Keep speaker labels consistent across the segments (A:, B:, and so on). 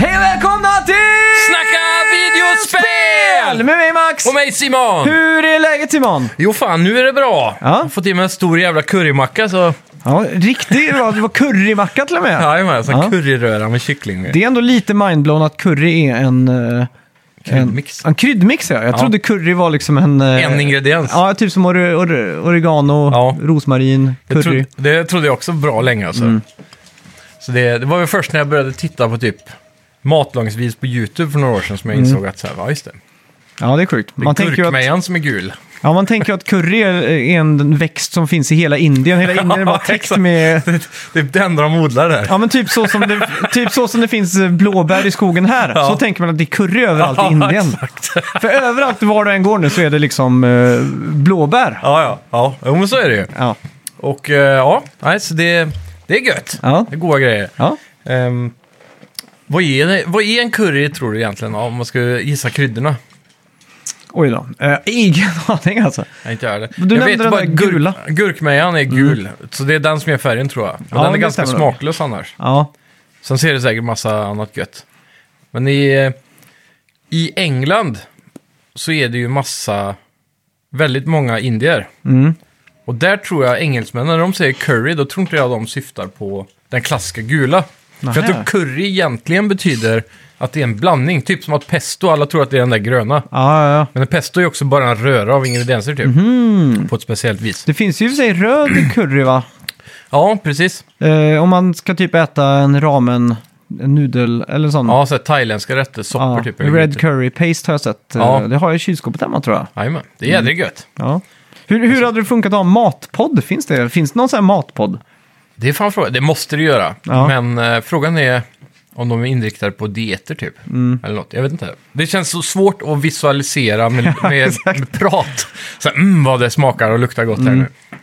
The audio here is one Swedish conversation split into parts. A: Hej och välkomna till
B: Snacka videospel!
A: med mig Max!
B: Och mig Simon!
A: Hur är läget Simon?
B: Jo fan, nu är det bra.
A: Ja.
B: Jag har fått i mig en stor jävla currymacka så...
A: Ja, riktigt bra. Det var currymacka till och med.
B: Jajamän, sån
A: Ja.
B: curryröra med kyckling.
A: Det är ändå lite mindblown att curry är en... eh,
B: Kryddmix.
A: En, en kryddmix ja. Jag
B: Ja.
A: trodde curry var liksom en... eh,
B: En ingrediens.
A: Ja, typ som ore- ore- oregano,
B: Ja.
A: rosmarin,
B: det,
A: curry. Mm.
B: trodde, det trodde jag också bra länge alltså. Så det, det var väl först när jag började titta på typ matlagningsvis på YouTube för några år sedan som jag insåg att så här, ja just det.
A: Ja, det är sjukt.
B: Det är
A: Mm. Man tänker, ju att,
B: gurkmejan som är gul.
A: ja, man tänker ju att curry är är en växt som finns i hela Indien. Hela Indien är bara
B: Ja,
A: täckt
B: exakt.
A: med...
B: Det är det enda de odlar där.
A: Ja, men typ så, som det, typ så som det finns eh, blåbär i skogen här.
B: Ja.
A: Så tänker man att det är curry överallt i Indien.
B: exakt.
A: För överallt var du än går nu så är det liksom eh, blåbär.
B: Ja, ja, ja. Jo, men så är det ju.
A: Ja.
B: Och eh, ja, nej, så det, det är gött.
A: Ja.
B: Det är goda grejer.
A: ja.
B: Ehm, vad, är, vad är en curry tror du egentligen? Om man ska gissa kryddorna.
A: Oj då. Eh, ingen aning alltså.
B: Nej, inte jag heller.
A: Men du
B: jag
A: nämnde den där
B: gur-
A: gula. Mm.
B: Gurkmejan är gul, så det är den som är färgen tror jag. Men
A: Ja,
B: den är
A: det
B: ganska
A: stämmer nog.
B: smaklös annars.
A: Ja.
B: Sen ser det säkert massa annat gött. Men i, eh, i England så är det ju massa, väldigt många indier.
A: Mm.
B: Och där tror jag engelsmännen, när de säger curry, då tror inte jag de syftar på den klassiska gula. För jag
A: Nähä.
B: tror curry egentligen betyder att det är en blandning, typ som att pesto, alla tror att det är den där gröna.
A: Ja, ja, ja.
B: Men en pesto är också bara en röra av ingredienser typ,
A: Mhm.
B: på ett speciellt vis.
A: Det finns ju i och för sig röd curry va?
B: Ja, precis.
A: Eh, om man ska typ äta en ramen, en nudel eller sån.
B: Ja, så här thailändska rätter, soppor
A: Ja,
B: typ. eller
A: Red
B: lite-
A: curry paste har jag sett. Eh,
B: Ja.
A: Det har jag i kylskåpet hemma tror jag.
B: Jajamän, det är jädrigt gött.
A: Ja. Hur, hur hade det funkat att ha en matpodd? Finns det, finns det någon sån här matpodd?
B: Det är fan frågan, det måste det göra.
A: Ja.
B: Men eh, frågan är om de är inriktade på dieter typ.
A: Mm.
B: Eller något, jag vet inte. Det känns så svårt att visualisera med, med, med prat. Så här, mm, vad det smakar och luktar gott
A: Mm.
B: här nu.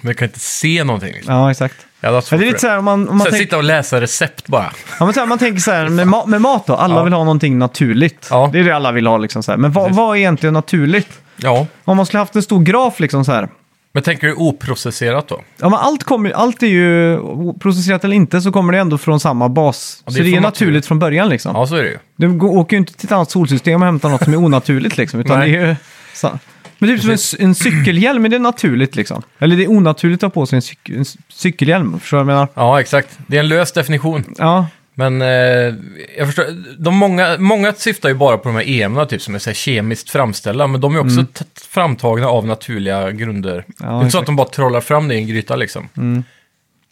B: Men jag kan inte se någonting. Liksom.
A: Ja, exakt.
B: Jag hade haft
A: Ja,
B: svårt
A: det är
B: för
A: lite så här om man, om man,
B: Sen
A: tänk,
B: sitta och läsa recept bara.
A: ja, men så här, man tänker så här med, ma- med mat då. Alla
B: Ja.
A: vill ha någonting naturligt.
B: Ja.
A: Det är det alla vill ha liksom så här. Men vad, vad är egentligen naturligt?
B: Ja,
A: Om man skulle haft en stor graf liksom så här.
B: men tänker du oprocesserat då?
A: Ja, men allt, kommer, allt är ju, processerat eller inte, så kommer det ändå från samma bas.
B: det
A: så
B: är
A: det är
B: från
A: naturligt
B: naturen.
A: från början liksom.
B: Ja, så är det ju.
A: Du går- åker ju inte till ett annat solsystem och hämtar något som är onaturligt liksom. Utan det
B: Nej.
A: är ju, så. Men typ som en, cy- en cykelhjälm, är det naturligt liksom? Eller det är onaturligt att ha på sig en, cyk- en cykelhjälm, förstår du vad jag menar?
B: Ja, exakt. Det är en lös definition.
A: Ja,
B: Men eh, jag förstår, de många, många syftar ju bara på de här EM-erna typ, som är så här kemiskt framställda, men de är också t- framtagna av naturliga grunder. det är inte så
A: Mm. exakt. Mm.
B: att de bara trollar fram det i en gryta liksom.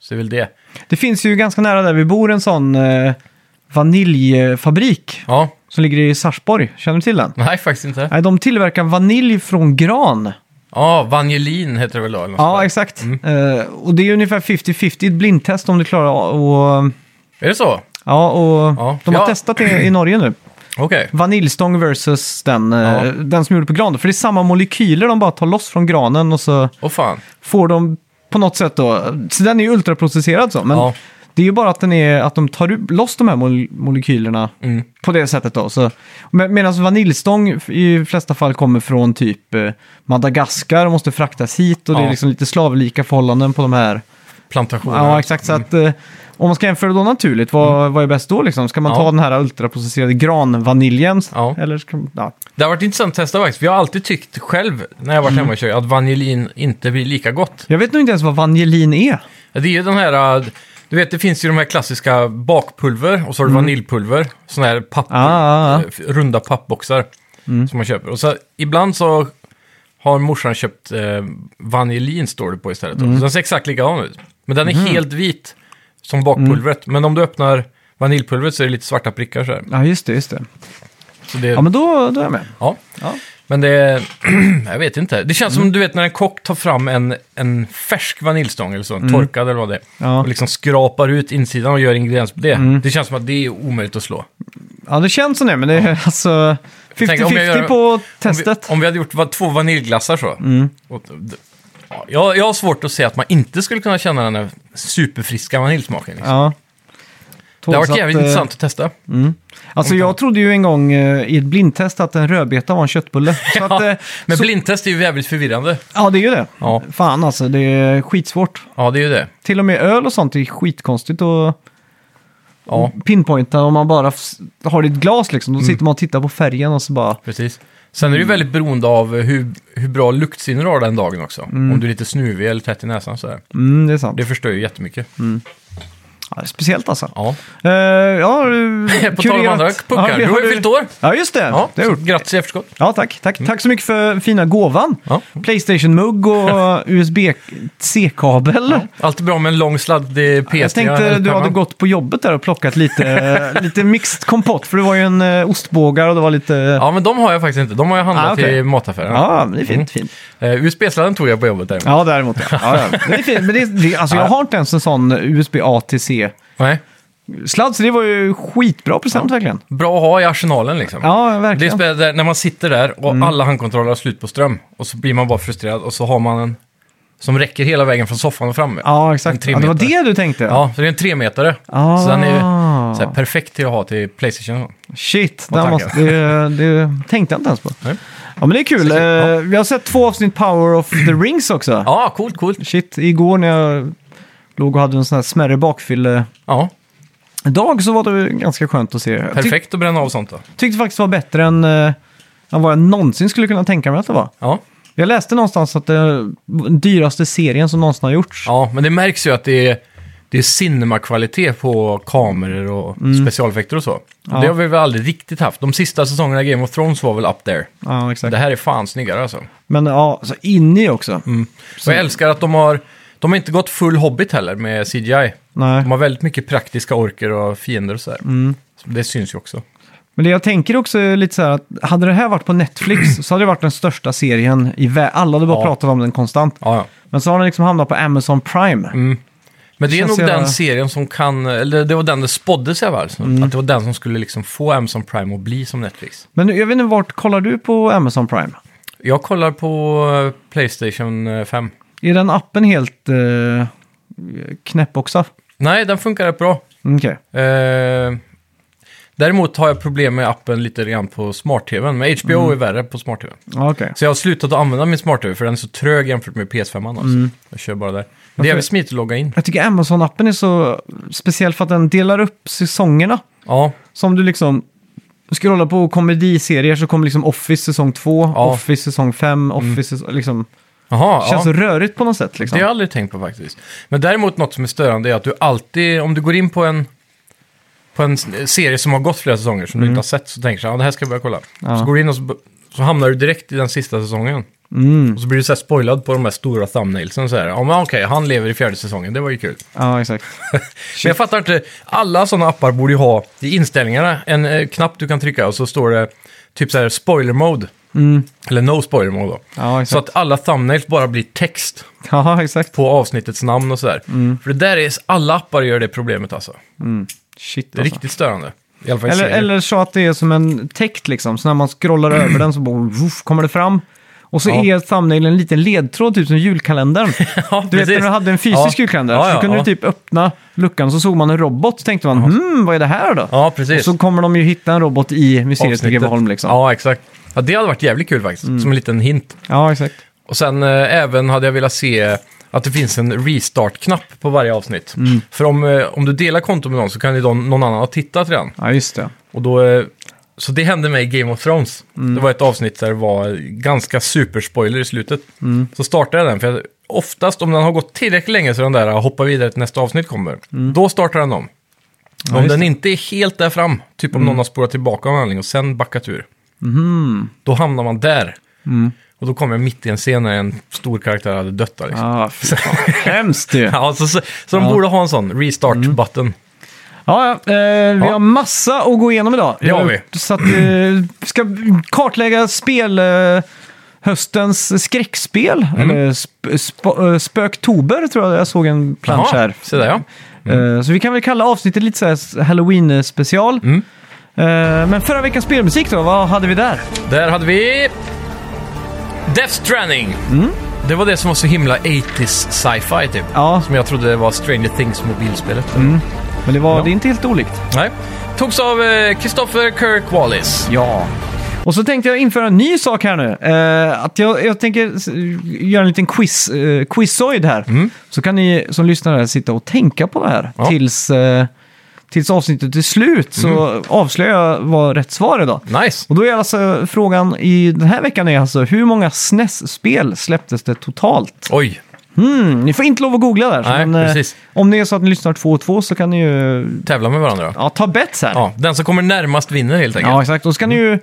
B: Så det är väl det.
A: det finns ju ganska nära där vi bor en sån eh, vaniljfabrik
B: Ja,
A: som ligger i Sarpsborg. Känner du till den?
B: nej faktiskt inte.
A: Nej, de tillverkar vanilj från gran.
B: Ja, vanilin heter det väl då? Eller något
A: Ja,
B: sånt
A: exakt. Eh, och det är ungefär 50-50 ett blindtest om du klarar och,
B: där. Är det så?
A: Ja, och
B: Ja.
A: de har
B: Ja.
A: testat det i Norge nu.
B: Okej.
A: Vaniljstång versus den, eh,
B: Ja.
A: den som gjorde på gran. För det är samma molekyler de bara tar loss från granen och så
B: Åh fan.
A: får de på något sätt då... Så den är ju ultraprocesserad så, men
B: Ja.
A: det är ju bara att, den är, att de tar upp- loss de här mol- molekylerna
B: Mm.
A: på det sättet då. Så, med, medan vaniljstång i flesta fall kommer från typ eh, Madagaskar och måste fraktas hit och det är
B: Ja.
A: liksom lite slavlika förhållanden på de här.
B: Plantationer.
A: Ja, exakt. Så att, eh, om man ska jämföra då naturligt, vad, vad är bäst då liksom? Ska man
B: Mm. Ja.
A: ta den här ultraprocesserade granvaniljen?
B: Ja.
A: Eller ska, ja.
B: Det har varit intressant att testa faktiskt, för jag har alltid tyckt själv när jag varit
A: Mm.
B: hemma och kört att vanilin inte blir lika gott.
A: Jag vet nog inte ens vad vanilin är.
B: Ja, Det är ju den här, äh, du vet det finns ju de här klassiska bakpulver och så har du vaniljpulver. Såna här papp,
A: Ah, ah, ah.
B: eh, runda pappboxar som man köper. Och så ibland så har morsan köpt eh, vanilin står det på istället. då. Så den ser exakt likadan ut. Men den är helt vit som bakpulvret. Men om du öppnar vaniljpulvret så är det lite svarta prickar så här.
A: Ja, just det, just det.
B: Så det,
A: Ja, men då, då är jag med.
B: ja.
A: Ja. Mm.
B: Men det, jag vet inte. Det känns som du vet när en kock tar fram en, en färsk vaniljstång eller så, torkad eller vad det är.
A: Mm. Ja. Mm.
B: Och liksom skrapar ut insidan och gör ingrediens på det. Det känns som att det är omöjligt att slå.
A: Ja, det känns som det, men det är alltså
B: tänker, om
A: 50-50
B: jag gör-
A: på
B: Om
A: testet. Mm.
B: vi, om vi hade gjort va- två vaniljglassar så. Och, d- ja, jag, jag har svårt att se att man inte skulle kunna känna den här superfriska vaniljsmaken. Liksom.
A: Ja.
B: Det har
A: Så
B: varit
A: att,
B: jävligt
A: eh,
B: intressant att testa.
A: Mm. Alltså jag trodde ju en gång eh, i ett blindtest att en rödbeta var en köttbulle. Så att, eh,
B: Men
A: så,
B: blindtest är ju jävligt förvirrande.
A: ja, det är ju det.
B: Ja.
A: Fan alltså, det är skitsvårt.
B: Ja, det är ju det.
A: Till och med öl och sånt är skitkonstigt att
B: Ja, Mm.
A: pinpointa om man bara f- har det i ett glas liksom. Då sitter man och tittar på färgen och så bara...
B: precis. Sen är det ju väldigt beroende av hur, hur bra luktsinne du har den dagen också. Om du är lite snuvig eller tätt i näsan så här.
A: Mm, det är sant.
B: Det förstör ju jättemycket.
A: Mm. Ja, det är speciellt alltså.
B: Ja.
A: Eh, ja,
B: På tal om andra puckar, du har ju fyllt år.
A: Ja, just det.
B: Ja, Mm.
A: det har jag
B: så
A: gjort.
B: Grattis i efterskott.
A: Ja, tack. Tack. tack så mycket för fina gåvan.
B: Ja.
A: Playstation-mugg och USB-C-kabel.
B: Alltid bra med en lång sladdig pt
A: Jag tänkte du hade gått på jobbet där och plockat lite, eh, lite mixed kompott, för det var ju en eh, ostbågar och det var lite... Ja,
B: Ja, men de har jag faktiskt inte. De har jag handlat
A: Ah, okej.
B: i mataffären.
A: men det är fint. fint.
B: Eh, USB-sladden tog jag på jobbet däremot.
A: Ja, däremot ja. ja, ja. Men det är fint. Men det, det, alltså, jag har inte ens en sån USB-A till C-sladd,
B: Nej.
A: så det var ju skitbra present verkligen.
B: Bra att ha i arsenalen liksom.
A: Ja,
B: Det är
A: verkligen. Mm.
B: spel där, när man sitter där och alla handkontroller har slut på ström och så blir man bara frustrerad och så har man en som räcker hela vägen från soffan och framme. Ja,
A: Ja,
B: En
A: exakt.
B: tre
A: Ja, det var
B: meter.
A: det du tänkte?
B: så det är en 3-metare.
A: Ah.
B: Så den är ju så här, perfekt till att ha till Playstation.
A: Shit,
B: Vad
A: det,
B: tackar.
A: måste, det, det tänkte jag inte ens på.
B: Nej.
A: Ja, men det är kul.
B: Så kul, ja.
A: Eh, Vi har sett två avsnitt Power of the Rings också.
B: Ja, coolt, coolt.
A: Shit, igår när jag låg och hade en sån här smärre bakfylle
B: Ja,
A: dag så var det ganska skönt att se. Jag tyck-
B: perfekt att bränna av sånt då.
A: tyckte faktiskt det var bättre än, eh, än vad jag någonsin skulle kunna tänka mig att det var.
B: Ja.
A: Jag läste någonstans att det är den dyraste serien som någonsin har gjorts.
B: ja, men det märks ju att det är, det är cinemakvalitet på kameror och specialeffekter och så. Och
A: Mm. Ja.
B: Det har vi väl aldrig riktigt haft. De sista säsongerna av Game of Thrones var väl up there.
A: Ja, exakt.
B: Det här är fan snyggare alltså.
A: Men ja, så in i också.
B: Mm. Och jag älskar att de har, de har inte gått full hobbit heller med CGI.
A: Nej.
B: De har väldigt mycket praktiska orker och fiender och sådär.
A: Mm.
B: Så Det syns ju också.
A: Men det jag tänker också är lite så här att hade det här varit på Netflix så hade det varit den största serien i världen. Alla hade bara
B: Ja.
A: pratat om den konstant.
B: Ja, ja.
A: Men så har den liksom hamnat på Amazon Prime.
B: Mm. Men det är
A: Känns
B: nog
A: jävla-
B: den serien som kan, eller det var den det spåddes i alla fall. Att det var den som skulle liksom få Amazon Prime att bli som Netflix.
A: Men jag vet inte, vart kollar du på Amazon Prime?
B: Jag kollar på eh, Playstation eh, 5.
A: Är den appen helt eh, knäpp också?
B: Nej, den funkar rätt bra.
A: Okej.
B: Eh, däremot har jag problem med appen lite grann på smart-tvn. Men HBO är värre på smart-tvn.
A: Ja, okej.
B: Så jag har slutat att använda min smart-tv för den är så trög jämfört med PS5 annars. Jag kör bara där. Men det är jävligt smidigt att logga in.
A: Jag tycker Amazon-appen är så speciell för att den delar upp säsongerna.
B: Ja,
A: Som du liksom scrollar på komediserier så kommer liksom Office säsong 2,
B: Ja.
A: Office säsong 5, Office säsong, liksom.
B: Jaha,
A: Känns så
B: ja.
A: rörigt på något sätt liksom.
B: det har jag aldrig tänkt på faktiskt. Men däremot något som är störande är att du alltid, om du går in på en, på en s- serie som har gått flera säsonger som du inte har sett så tänker du att ah, det här ska jag börja kolla.
A: Mm. Ja.
B: Så går du in och så, b- så hamnar du direkt i den sista säsongen.
A: Mm.
B: Och så blir du så här spoilad på de här stora thumbnailsen. Så här, ja men okej, han lever i fjärde säsongen, det var ju kul.
A: Ja, exakt.
B: Men jag fattar inte, alla sådana appar borde ju ha i inställningarna en eh, knapp du kan trycka och så står det typ så här spoiler mode. Eller no spoiler mode då.
A: Mm. Ja,
B: Så
A: exakt.
B: att alla thumbnails bara blir text
A: Ja, exakt.
B: på avsnittets namn och sådär.
A: Mm.
B: För det där är, alla appar gör det problemet alltså.
A: Shit
B: Det är
A: alltså.
B: riktigt störande. I alla fall i
A: Eller,
B: serier.
A: eller så att det är som en text liksom, så när man scrollar över den så bara, woof, kommer det fram. Och så
B: Ja.
A: är thumbnail en liten ledtråd, typ som julkalendern.
B: ja,
A: Du vet när
B: precis.
A: du hade en fysisk
B: Ja.
A: julkalender,
B: Ja, ja,
A: så kunde
B: ja.
A: du typ öppna luckan så såg man en robot, så tänkte man hmm, vad är det här då?
B: Ja, precis.
A: Så kommer de ju hitta en robot i museet i
B: Avsnittet.
A: Greveholm liksom. Mm. Ja.
B: Ja, exakt. Ja, det hade varit jävligt kul faktiskt, som en liten hint.
A: exakt.
B: Och sen eh, även hade jag velat se att det finns en restart-knapp på varje avsnitt.
A: Mm.
B: För om, eh, om du delar konto med någon så kan ju någon, någon annan ha tittat redan.
A: Ja, just det.
B: Och då, eh, så det hände mig i Game of Thrones.
A: Mm.
B: Det var ett avsnitt där det var ganska superspoiler i slutet.
A: Mm.
B: Så startade jag den, för jag, oftast om den har gått tillräckligt länge så den där "Ah, hoppar vidare till nästa avsnitt kommer, då startar den om. om
A: Mm. just Mm.
B: den inte är helt där fram, typ om någon har spårat tillbaka av en handling och sen backat ur,
A: Mhm.
B: då hamnar man där.
A: Mm.
B: Och då kommer jag mitt i en scen när en stor karaktär hade dött. där, Liksom.
A: Ja, Ah, fy fan. Hemskt ju. Ja, Mm.
B: Ja, så, så, så de borde ha en sån restart-button.
A: ja, eh, vi
B: Ja.
A: har massa att gå igenom idag.
B: Det har vi.
A: Så att vi ska kartlägga spel... Eh, Höstens skräckspel, eller sp sp- eh, Spöktober tror jag jag såg en plansch
B: Jaha,
A: här.
B: så där, ja.
A: Eh, Så vi kan väl kalla avsnittet lite så här Halloween-special. Eh, Men förra veckans spelmusik då, vad hade vi där?
B: Där hade vi... Death Stranding! Det var det som var så himla 80s sci-fi typ.
A: Ja.
B: Som jag trodde var Stranger Things mobilspelet.
A: Men det, var, det är inte helt olikt.
B: Nej. Togs av eh, Christopher Kirk Wallace.
A: Ja. Och så tänkte jag införa en ny sak här nu. Eh, att jag, jag tänker s- göra en liten quiz, eh, quizoid här. Så kan ni som lyssnar här sitta och tänka på det här
B: Mm. Ja.
A: tills, eh, tills avsnittet är slut. Så
B: Mm.
A: avslöjar jag vad rätt svar är då.
B: Nice.
A: Och då är alltså frågan i den här veckan är alltså hur många SNES-spel släpptes det totalt?
B: Oj.
A: Mm, ni får inte lov att googla där. så
B: Nej,
A: eh,
B: precis.
A: om det är så att ni lyssnar två och två så kan ni ju
B: Tävla med varandra. Ja.
A: ja, ta bets här.
B: ja. Den som kommer närmast vinner helt enkelt.
A: Ja, exakt. Och så kan ni ju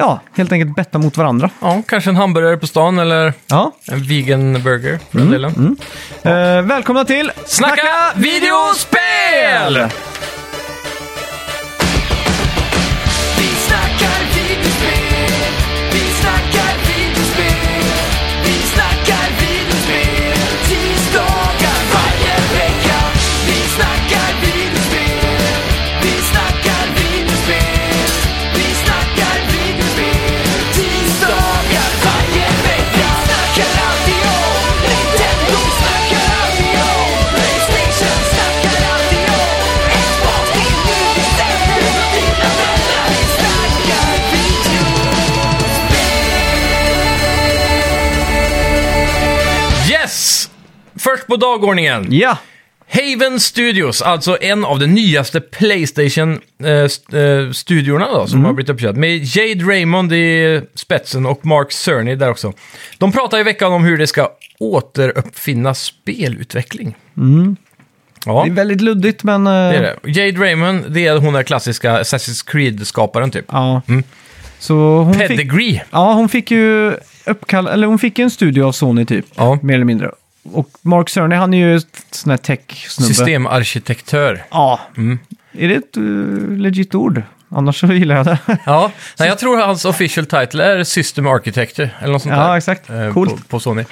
A: ja, helt enkelt betta mot varandra.
B: Ja, kanske en hamburgare på stan eller
A: Ja.
B: en vegan burger för den delen.
A: Eh, välkomna till
B: Snacka videospel!
C: Vi snackar videospel, vi snackar videospel, vi snackar videospel tisdagar varje vecka. Vi snackar videospel, vi snackar videospel, vi snackar videospel tisdagar varje vecka. Snackar alltid om Nintendo, snackar alltid om Playstation, snackar alltid om Xbox, det är nu vi sätter dina vänner. Vi snackar videospel.
B: Yes! Först på dagordningen.
A: Ja,
B: Haven Studios, alltså en av de nyaste eh, Playstation-studiorna då,
A: Mm.
B: som har blivit uppköpt. Med Jade Raymond i spetsen och Mark Cerny där också. De pratar i veckan om hur det ska återuppfinna spelutveckling. Ja,
A: Mm. det är väldigt luddigt men... eh,
B: det är det. Jade Raymond, det är hon där klassiska Assassin's Creed-skaparen typ.
A: Ja. Så hon fick,
B: Pedigree.
A: ja, hon fick ju uppkall, eller hon fick ju en studio av Sony typ,
B: Ja.
A: mer eller mindre. Och Mark Cerny, han är ju ett sån här tech-snubbe.
B: Systemarkitektör.
A: Ja.
B: Mm.
A: Är det ett eh, legit ord? Annars så gillar jag det.
B: Ja, nej, jag tror hans official title är System Architecture eller något sånt
A: Ja,
B: där.
A: exakt.
B: eh,
A: Coolt.
B: På, på Sony.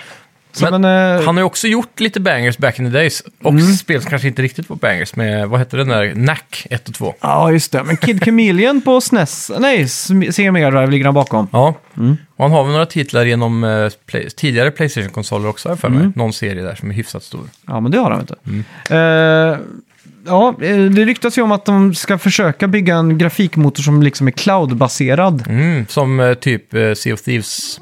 A: Så,
B: Men
A: men, eh, Mm.
B: Han har ju också gjort lite bangers back in the days. Och spel som kanske inte riktigt var bangers med, vad hette den där, Knack 1 och 2.
A: Ja, just det. Men Kid Chameleon på SNES, nej, Sega Mega Drive ligger han bakom.
B: Ja,
A: Mm.
B: och han har väl några titlar genom eh, play, tidigare Playstation-konsoler också har jag för
A: Mm.
B: mig. Någon serie där som är hyfsat stor.
A: Ja, men det har han inte.
B: Mm.
A: Eh, ja, eh, det ryktas ju om att de ska försöka bygga en grafikmotor som liksom är cloudbaserad.
B: Mm, som eh, typ eh, Sea of Thieves.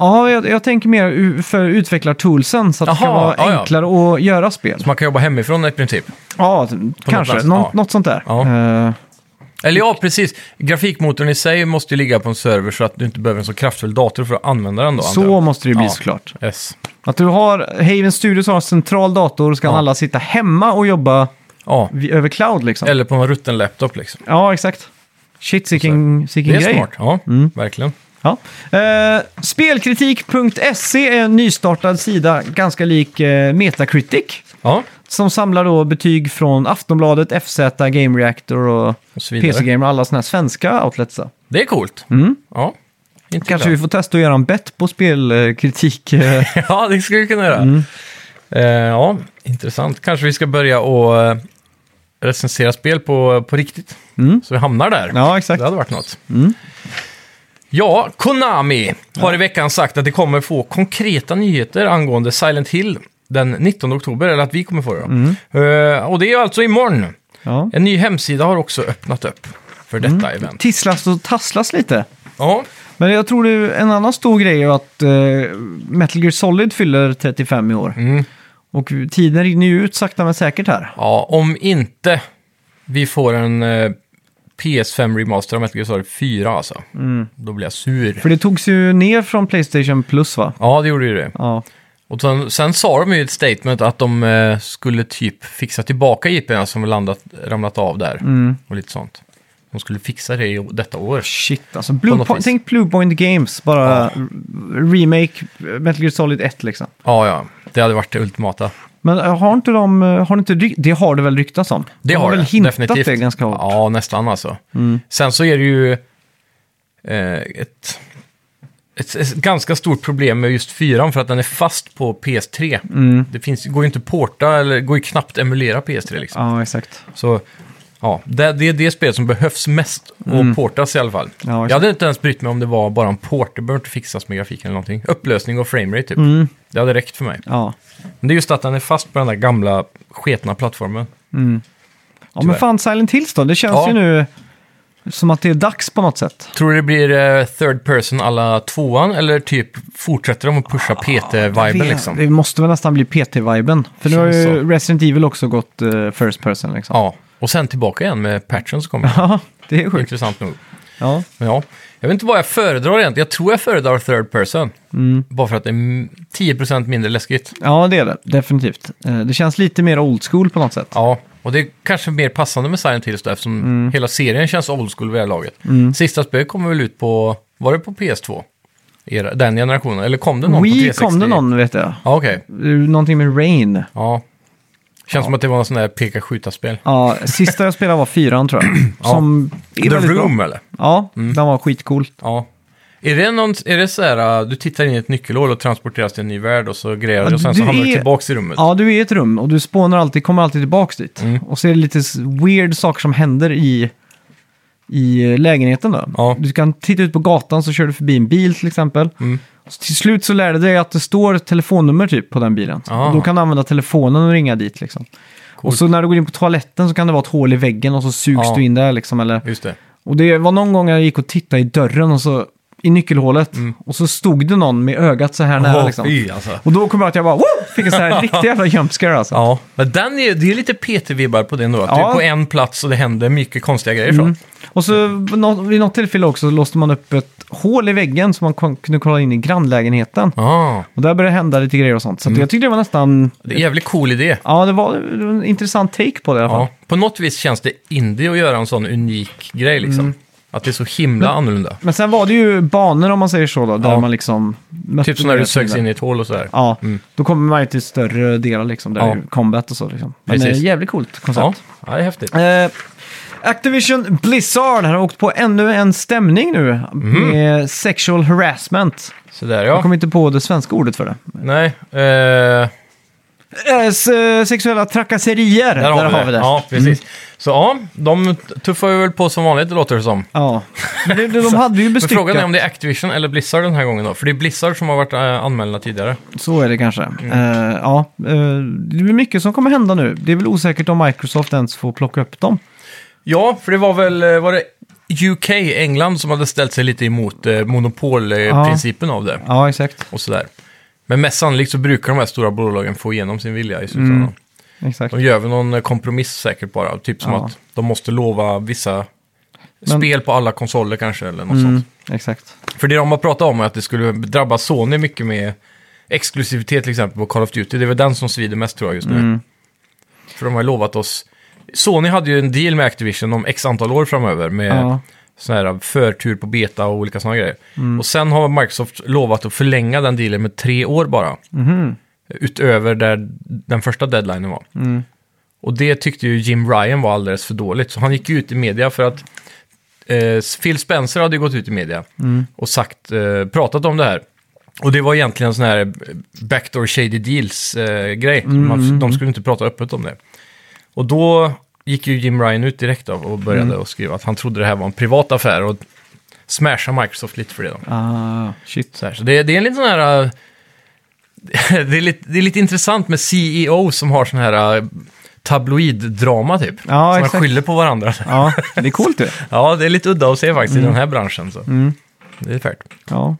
A: Ja, jag, jag tänker mer u- för utvecklartoolsen så att det kan
B: Jaha,
A: vara
B: ja, ja.
A: enklare att göra spel.
B: Så man kan jobba hemifrån i princip.
A: Ja, t- kanske.
B: plats,
A: Nå-
B: ja.
A: Något sånt där.
B: Ja.
A: Eh,
B: Eller ja, precis. Grafikmotorn i sig måste ju ligga på en server så att du inte behöver en så kraftfull dator för att använda den då. antar
A: så
B: jag.
A: måste det ju bli
B: Ja.
A: såklart.
B: Yes.
A: Att du har, Haven Studios har en central dator så kan
B: Ja.
A: alla sitta hemma och jobba
B: Ja,
A: vi- över cloud liksom.
B: eller på en rutten laptop liksom.
A: Ja, exakt. Shit, vilken
B: Det
A: vilken
B: är
A: grej. Mm.
B: smart, ja. Verkligen.
A: Ja. Eh, spelkritik.se E är en nystartad sida, ganska lik eh, Metacritic.
B: Ja,
A: Som samlar då betyg från Aftonbladet, FZ, Game Reactor och
B: och så vidare.
A: PC Gamer och alla sådana här svenska outlets. då.
B: Det är coolt. Ja. Inte
A: Mm. Kanske
B: illa.
A: vi får testa att göra en bet på spelkritik. eh,
B: Ja, det skulle vi kunna göra.
A: Mm.
B: Eh, ja, intressant. Kanske vi ska börja och eh, recensera spel på, på riktigt. Så vi hamnar där.
A: Mm. ja, exakt. Mm.
B: Det hade varit något. Ja, Konami har i veckan sagt att det kommer få konkreta nyheter angående Silent Hill den 19 oktober, eller att vi kommer få det. Då.
A: Mm.
B: Eh, och det är ju alltså imorgon.
A: Ja.
B: En ny hemsida har också öppnat upp för detta
A: Mm.
B: event.
A: Tisslas och tasslas lite.
B: Ja,
A: Men jag tror det är en annan stor grej är att eh, Metal Gear Solid fyller 35 i år. Och tiden rinner ju ut sakta men säkert här.
B: Ja, om inte vi får en eh, PS5 remaster av Metal Gear Solid 4 alltså. Då blir jag sur.
A: För det togs ju ner från Playstation Plus va?
B: Ja, det gjorde ju det.
A: Ja.
B: Och sen, sen sa de ju i ett statement att de eh, skulle typ fixa tillbaka IPn som landat, ramlat av där. Och lite sånt. De skulle fixa det i, detta år.
A: Shit alltså. Blue
B: något
A: po-
B: vis.
A: tänk Bluepoint Games, bara remake eh, Metal Gear Solid 1 liksom.
B: Ja, ja. Det hade varit det ultimata.
A: Men eh, har inte de, eh, har inte, ry- det har det väl ryktats om?
B: Det
A: de
B: har
A: väl
B: det,
A: hintat
B: definitivt.
A: det ganska hårt. Mm.
B: Ja, nästan alltså. Sen så är det ju eh, ett, ett, ett ganska stort problem med just 4 för att den är fast på PS3.
A: Mm.
B: Det finns, går ju inte att porta, eller går ju knappt att emulera PS3 liksom.
A: Ja, exakt.
B: Så ja, det, det är det spel som behövs mest
A: Mm.
B: och portas i alla fall.
A: exakt.
B: Jag hade inte ens brytt mig om det var bara en port, det behöver inte fixas med grafiken eller någonting. Upplösning och framerate typ.
A: Mm.
B: Det hade räckt för mig.
A: Ja.
B: Men det är just att den är fast på den där gamla sketna plattformen.
A: Ja, men fan Silent Hills då? Det känns
B: Ja.
A: ju nu som att det är dags på något sätt.
B: Tror du det blir eh, third person alla tvåan eller typ fortsätter de att pusha
A: Ah, Det,
B: PT-viben liksom?
A: det måste väl nästan bli PT-viben. För nu har
B: Känns
A: ju Resident Evil också gått eh, first person liksom.
B: Ja, och sen tillbaka igen med patchen som kommer.
A: Ja, det är sjukt.
B: Intressant nog.
A: Ja.
B: Men ja, jag vet inte vad jag föredrar egentligen. Jag tror jag föredrar third person. Bara för att det är mm, 10% mindre läskigt.
A: ja, det är det. Definitivt. Eh, Det känns lite mer old school på något sätt.
B: Ja, och det är kanske mer passande med Silent Hills då, eftersom
A: Mm.
B: hela serien känns old school vid det här laget. Sista spöet kommer väl ut på, var det på PS2? Era, den generationen? Eller kom det någon på
A: Wii
B: 360?
A: kom det någon, vet jag.
B: Ja, okej.
A: Eh, Någonting med Rain.
B: Ja. Känns som att det var en sån där peka-skjuta-spel.
A: Ja, sista jag spelade var fyran tror jag. Som är
B: The
A: väldigt bra.
B: Room Mm. eller?
A: Ja, den var skitcool.
B: Ja. Är det, någon, är det så här, äh, du tittar in i ett nyckelhål och transporteras till en ny värld och så grejer
A: Ja,
B: och sen så
A: du
B: hamnar du
A: är-
B: tillbaks i rummet?
A: Ja, du är i ett rum och du spånar alltid, kommer alltid tillbaks dit.
B: Mm.
A: Och så är det lite s- weird saker som händer i, i eh, lägenheten då.
B: Ja.
A: Du kan titta ut på gatan så kör du förbi en bil till exempel.
B: Mm.
A: Så till slut så lär det dig att det står ett telefonnummer typ på den bilen.
B: Ah.
A: Och då kan du använda telefonen och ringa dit liksom. Och så när du går in på toaletten så kan det vara ett hål i väggen och så sugs
B: Ja.
A: du in där liksom. Eller...
B: Just det.
A: Och det var någon gång jag gick och tittade i dörren och så i nyckelhålet och så stod det någon med ögat så här nära
B: Mm. Åh,
A: liksom.
B: fy, alltså.
A: Och då kom jag att jag bara Woo! fick en så här riktig jävla jumpscare alltså.
B: Ja, men den är, det är lite PT-vibbar på det då. Att
A: Ja. Mm.
B: Du är på en plats och det händer mycket konstiga grejer. Så.
A: Och så nå- vid något tillfälle också låste man upp ett hål i väggen så man kon- kunde kolla in i grannlägenheten.
B: Ah,
A: Och där började det hända lite grejer och sånt. Så att jag tyckte det var nästan...
B: Mm. det är en jävligt cool idé.
A: Ja, det var det var en intressant take på det i alla fall.
B: Ja. På något vis känns det indie att göra en sån unik grej liksom.
A: Mm.
B: Att det är så himla annorlunda.
A: Men sen var det ju banor om man säger så då, där
B: Ja.
A: man liksom... mötte
B: Typ som när du
A: det
B: söks
A: som-
B: in i ett hål och sådär.
A: Ja, då kommer man ju till större delar liksom, där
B: Ja.
A: det är combat och så liksom. Men
B: Precis.
A: eh, jävligt coolt
B: ja.
A: koncept.
B: ja, det är häftigt.
A: Eh, Activision Blizzard har åkt på ännu en stämning nu
B: Mhm.
A: med sexual harassment.
B: Sådär
A: Jag
B: ja.
A: kommer inte på det svenska ordet för det.
B: Nej, eh,
A: Eh, s- sexuella trakasserier. Där, har, vi det. Mm.
B: Ja, precis. Så ja, de tuffar ju väl på som vanligt, det låter det som.
A: Ja. Men det- De hade ju
B: Men
A: bestyckat.
B: frågan är om det är Activision eller Blizzard den här gången då? För det är Blizzard som har varit äh, anmälda tidigare.
A: Så är det kanske.
B: Mm.
A: Eh, ja. eh, det blir mycket som kommer hända nu. Det är väl osäkert om Microsoft ens får plocka upp dem.
B: Ja, för det var väl eh, var det UK, England, som hade ställt sig lite emot eh, monopolprincipen av det.
A: Ja, exakt.
B: Och sådär. Men mest sannolikt så brukar de här stora bolagen få igenom sin vilja i slutändan.
A: Mm. exakt.
B: De gör väl någon eh, kompromiss säkert bara. Typ som
A: Ja.
B: att de måste lova vissa
A: Men-
B: spel på alla konsoler kanske eller något sånt.
A: Mm, exakt.
B: För det de har pratat om är att det skulle drabba Sony mycket med exklusivitet till exempel på Call of Duty. Det är väl den som svider mest tror jag just nu. För de har ju lovat oss. Sony hade ju en deal med Activision om x antal år framöver med
A: Ja.
B: sån här äh, förtur på beta och olika sådana grejer. Och sen har Microsoft lovat att förlänga den dealen med tre år bara. Utöver där den första deadlinen var. Och det tyckte ju Jim Ryan var alldeles för dåligt. Så han gick ju ut i media för att eh, Phil Spencer hade ju gått ut i media och sagt, eh, pratat om det här. Och det var egentligen en sån här backdoor shady deals-grej. De skulle inte prata öppet om det. Och då gick ju Jim Ryan ut direkt då och började
A: Mm.
B: och skriva att han trodde det här var en privat affär och smasha Microsoft lite för det. Då.
A: Ah, shit.
B: Så, här, så det, det är en liten sån här... äh, det, är lite, det är lite intressant med CEO som har sån här äh, tabloiddrama typ.
A: Ja,
B: som
A: exakt.
B: skyller på varandra.
A: Ja, det är coolt det.
B: Ja, det är lite udda att se faktiskt
A: Mm.
B: i den här branschen. Så. Det är färdigt.
A: Ja.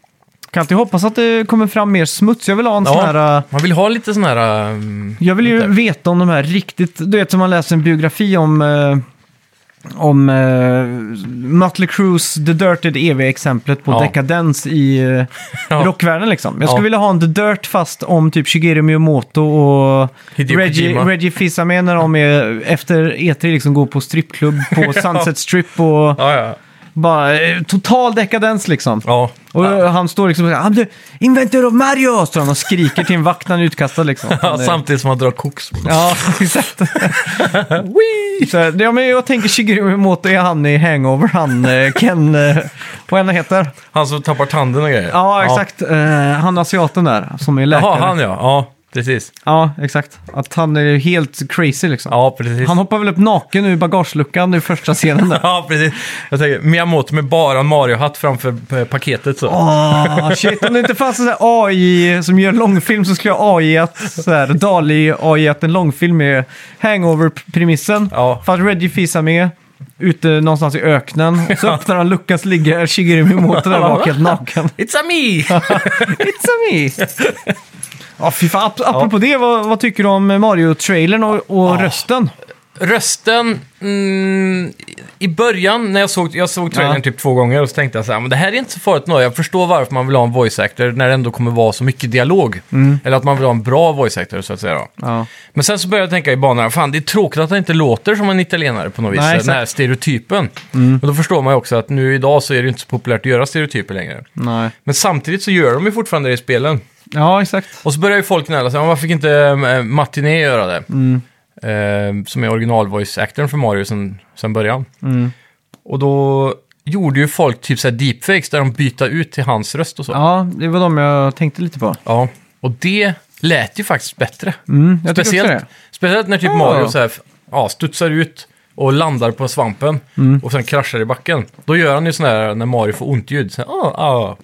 A: Kan alltid hoppas att det kommer fram mer smuts. Jag vill ha en sån här...
B: Ja,
A: eh,
B: man vill ha lite sån här... ähm,
A: Jag vill ju
B: Vänta.
A: veta om de här riktigt... Du vet som man läser en biografi om... eh, om eh, Mötley Crues The Dirt är det eviga exemplet på
B: Ja.
A: dekadens i eh,
B: Ja.
A: rockvärlden liksom. Jag skulle
B: Ja.
A: vilja ha en The Dirt fast om typ Shigeru Miyamoto och
B: Hideo
A: Reggie,
B: Kojima.
A: Reggie Fils-Aimé när de är efter E3 liksom går på strippklubb på Sunset Strip och
B: Ja, ja.
A: bara eh, total dekadens liksom.
B: ja.
A: Och han står liksom och säger "I'm the inventor of Mario!” står han och skriker till en vakt när han är utkastad liksom.
B: Ja,
A: Han är-
B: samtidigt som man drar koks.
A: Ja, exakt. Wee! Så, här, ja, men jag tänker Shigeru Miyamoto är han i Hangover, han eh, Ken... eh, Vad han heter?
B: Han som tappar tanden och grejer.
A: Ja, exakt. Eh, han asiaten där, som är
B: Ja.
A: läkare.
B: Jaha, han ja. ja. Precis.
A: Ja, exakt. Att han är ju helt crazy liksom.
B: Ja, precis.
A: Han hoppar väl upp naken ur bagageluckan i första scenen där.
B: Ja, precis. Jag tänker, Miyamoto med bara en Mario-hatt framför eh, paketet så.
A: Åh, Ah, shit. Om det inte fanns en sån här AI som gör långfilm så skulle jag AI att, så här, Dali AI att en långfilm är hangover-premissen.
B: Ja.
A: För att Reggie Fils med ute någonstans i öknen. Och så öppnar han luckan så ligger Shigeru Miyamoto där bak helt naken.
B: It's a me!
A: It's a me! Ja, fy fan. Ap- Apropå det, vad, vad tycker du om Mario-trailern och, och rösten?
B: Rösten, mm, i början när jag såg, jag såg trailern
A: Ja.
B: typ två gånger och så tänkte jag så här, men det här är inte så farligt nu. Jag förstår varför man vill ha en voice actor när det ändå kommer vara så mycket dialog. Eller att man vill ha en bra voice actor så att säga. Då.
A: Mm. Ja.
B: Men sen så började jag tänka i banorna, fan det är tråkigt att han inte låter som en italienare på något vis,
A: Nej,
B: den
A: exakt. Mm.
B: här stereotypen. Och då förstår man ju också att nu idag så är det ju inte så populärt att göra stereotyper längre.
A: Nej.
B: Men samtidigt så gör de ju fortfarande det i spelen.
A: Ja, exakt.
B: Och så börjar ju folk gnälla sig, "Ja, varför fick inte äh, Matiné göra det?
A: Mm.
B: Eh, som är original-voice-actorn för Mario sen, sen början.
A: Mm.
B: Och då gjorde ju folk typ såhär deepfakes där de bytte ut till hans röst och så. Ja.
A: Ja, det var de jag tänkte lite på.
B: Och det lät ju faktiskt bättre.
A: Mm, jag tycker också
B: speciellt,
A: det.
B: speciellt när typ
A: Ja.
B: Mario så här, ja, studsar ut och landar på svampen
A: Mm.
B: och sen kraschar i backen. Då gör han ju sån här när Mario får ont ljud. Så här, "Ah, ah,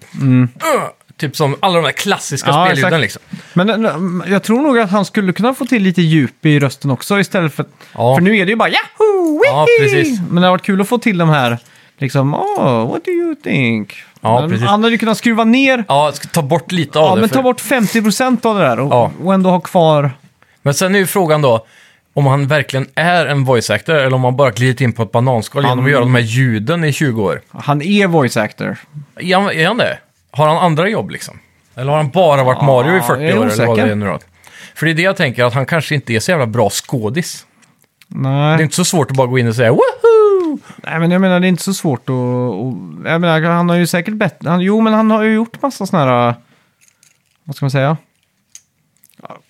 B: ah." Typ som alla de där klassiska
A: Mm. Ja,
B: spelljuden
A: exakt.
B: liksom.
A: Men eh, jag tror nog att han skulle kunna få till lite djup i rösten också istället för...
B: Ja.
A: För nu är det ju bara Yahoo!
B: Ja,
A: wihi!"
B: precis.
A: Men det har varit kul att få till de här, liksom, oh, what do you think?
B: Ja,
A: men
B: precis.
A: han hade ju kunnat skruva ner, ja,
B: Ja, jag ska ta bort lite av det.
A: men
B: för-
A: ta bort 50% av det där och,
B: Ja.
A: och ändå ha kvar...
B: men sen är ju frågan då, om han verkligen är en voice actor eller om han bara glidit in på ett bananskal genom att göra de här ljuden i 20 år.
A: Han är voice actor.
B: Är han, är han det? Har han andra jobb liksom? Eller har han bara varit Mario i
A: jag
B: 40
A: är
B: år eller vad det
A: osäker.
B: är nu då? För det är det jag tänker, att han kanske inte är så jävla bra skådis.
A: Nej.
B: Det är inte så svårt att bara gå in och säga woohoo!
A: Nej, men jag menar det är inte så svårt att... Och, jag menar, han har ju säkert bättre... Han, jo, men han har ju gjort massa sådana här... Vad ska man säga?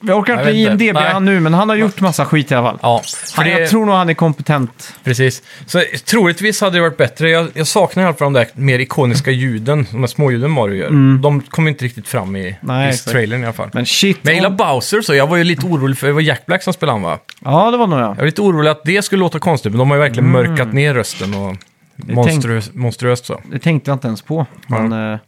A: Jag orkar
B: Jag
A: inte
B: vet inte.
A: IMDB
B: Nej.
A: han nu, men han har gjort massa skit i alla fall.
B: Ja, för
A: Han,
B: det,
A: Jag tror nog han är kompetent.
B: precis. Så troligtvis hade det varit bättre. Jag, jag saknar i alla fall de där mer ikoniska ljuden, de här småljuden Mario gör. De kommer inte riktigt fram i,
A: Mm. Nej,
B: i
A: exakt.
B: trailern i alla fall.
A: Men shit.
B: Men jag
A: om-
B: gillar Bowser så, jag var ju lite orolig för, det var Jack Black som spelade han va?
A: Ja, det var nog jag.
B: Jag var lite orolig att det skulle låta konstigt, men de har ju verkligen
A: Mm.
B: mörkat ner rösten och monstruös, monstruöst så.
A: Det tänkte jag inte ens på. Men, eh,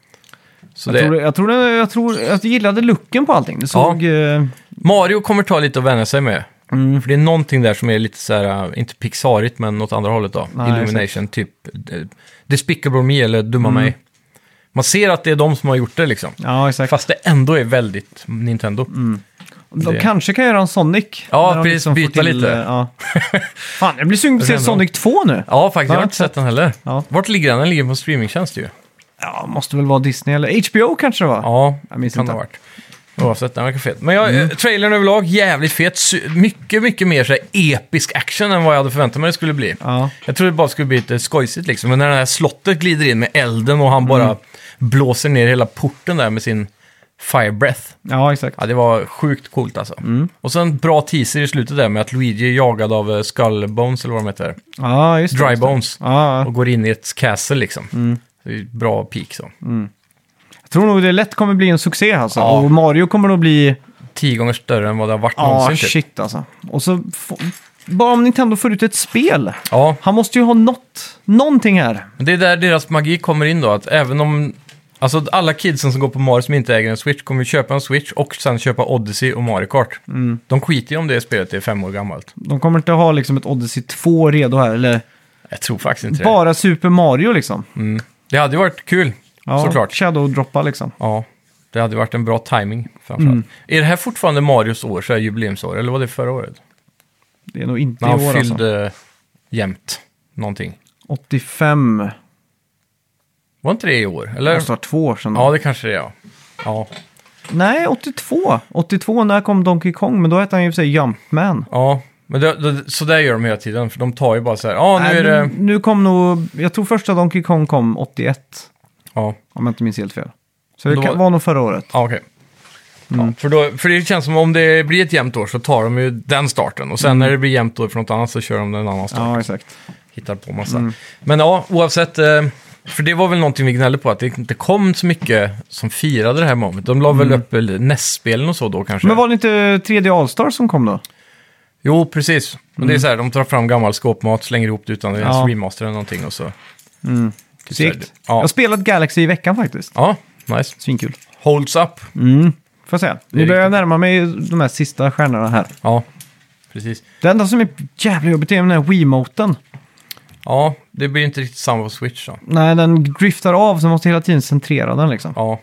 B: så
A: jag,
B: det,
A: tror, jag, tror, jag tror att jag gillade looken på allting. Det såg... eh, mm,
B: Mario kommer ta lite att vänja sig med. För det är någonting där som är lite så här, äh, inte pixarigt, men åt andra hållet då.
A: Nej,
B: Illumination, typ eh, Despicable Me eller Dumma mig. Man ser att det är de som har gjort det liksom.
A: ja, Mm. exakt. Mm.
B: Fast det ändå är väldigt Nintendo.
A: De
B: det-
A: kanske kan göra en Sonic.
B: Ja,
A: när de
B: precis,
A: får
B: byta lite.
A: eh, Ja. Fan, jag blir sugen på att se
B: ändå.
A: Sonic 2 nu.
B: Ja, faktiskt. Jag
A: Ja,
B: har inte sett den heller.
A: Ja.
B: Vart ligger den? Den ligger på en streamingtjänst ju.
A: Ja, måste väl vara Disney eller HBO kanske det var.
B: Ja,
A: Jag minns
B: kan
A: inte. Mm.
B: det ha varit. Oavsett, den verkar fet. Men jag, eh, trailern överlag, jävligt fet. Sy- Mycket, mycket mer så här episk action än vad jag hade förväntat mig det skulle bli.
A: Ja.
B: Jag trodde det bara skulle bli lite skojsigt liksom. Men när det här slottet glider in med elden och han
A: Mm.
B: bara blåser ner hela porten där med sin fire breath.
A: ja, exakt.
B: Ja, det var sjukt coolt alltså.
A: Mm.
B: Och sen bra teaser i slutet där med att Luigi är jagad av eh, Skullbones eller vad de heter.
A: Ja, just det.
B: Dry
A: just det.
B: Bones.
A: Ja, Mm. ja.
B: Och går in i ett castle liksom. Det är bra peak så.
A: jag tror nog det lätt kommer bli en succé alltså.
B: Ja.
A: Och Mario kommer nog bli...
B: Tio gånger större än vad det har varit
A: Ja,
B: någonsin. typ.
A: shit alltså. Och så... Få... Bara om Nintendo får ut ett spel.
B: Ja,
A: Han måste ju ha något, någonting här.
B: Men Det är där deras magi kommer in då, att även om... Alltså alla kidsen som går på Mario som inte äger en Switch kommer ju köpa en Switch och sen köpa Odyssey och Mario Kart.
A: Mm.
B: De skiter ju om det spelet är fem år gammalt.
A: De kommer inte ha liksom ett Odyssey 2 redo här, eller
B: Jag tror faktiskt inte det. Mm.
A: bara Super Mario liksom.
B: Det hade ju varit kul,
A: Ja,
B: såklart.
A: Shadow-droppa liksom.
B: Ja, det hade ju varit en bra timing framförallt.
A: Mm.
B: Är det här fortfarande Marios år, så här jubileumsår, eller var det förra året?
A: Det är nog inte
B: När han
A: i år alltså.
B: fyllde jämnt någonting. Eh.
A: 85.
B: Var inte det i år?
A: Det
B: Eller?
A: måste vara två år sedan.
B: Ja, det kanske det är, ja. Ja,
A: Nej, 82. 82, när kom Donkey Kong? Men då hette han ju i och för sig Jumpman.
B: ja. Men det, det, så där gör de hela tiden, för de tar ju bara så här, ja nu
A: Nej,
B: är det...
A: nu, nu kom nog, jag tror första Donkey Kong kom 81,
B: Ja.
A: om jag inte minns helt fel. Så det
B: Då-
A: kan, var nog förra året.
B: Ja, okej. Ja,
A: Mm.
B: för, då, för det känns som om det blir ett jämnt år så tar de ju den starten. Och sen när det blir jämnt år för något annat så kör de en annan start.
A: Mm. Ja, Mm. exakt.
B: Hittar på massa. Men ja, oavsett. Eh, För det var väl någonting vi gnällde på, att det inte kom så mycket som firade det här momentet. De la väl upp väl NES-spelen och så då kanske.
A: Mm. Men var det inte 3D All-Star som kom då?
B: Typ Jo, precis. Men det är så här, de tar fram gammal skåpmat, slänger ihop det utan att ens
A: Mm. Ja.
B: remaster eller någonting och så. Typ så här,
A: Sikt. Jag har
B: Ja.
A: spelat Galaxy i veckan faktiskt.
B: ja, nice.
A: Svinkul.
B: Holds up.
A: Mm. Får jag säga.
B: är
A: Nu börjar jag närma mig de här sista stjärnorna här.
B: Ja, precis.
A: Det enda som är jävla jobbigt är den här Wiimoten.
B: Ja, det blir inte riktigt samma på Switch då.
A: Nej, den driftar av så man måste hela tiden centrera den liksom.
B: Ja.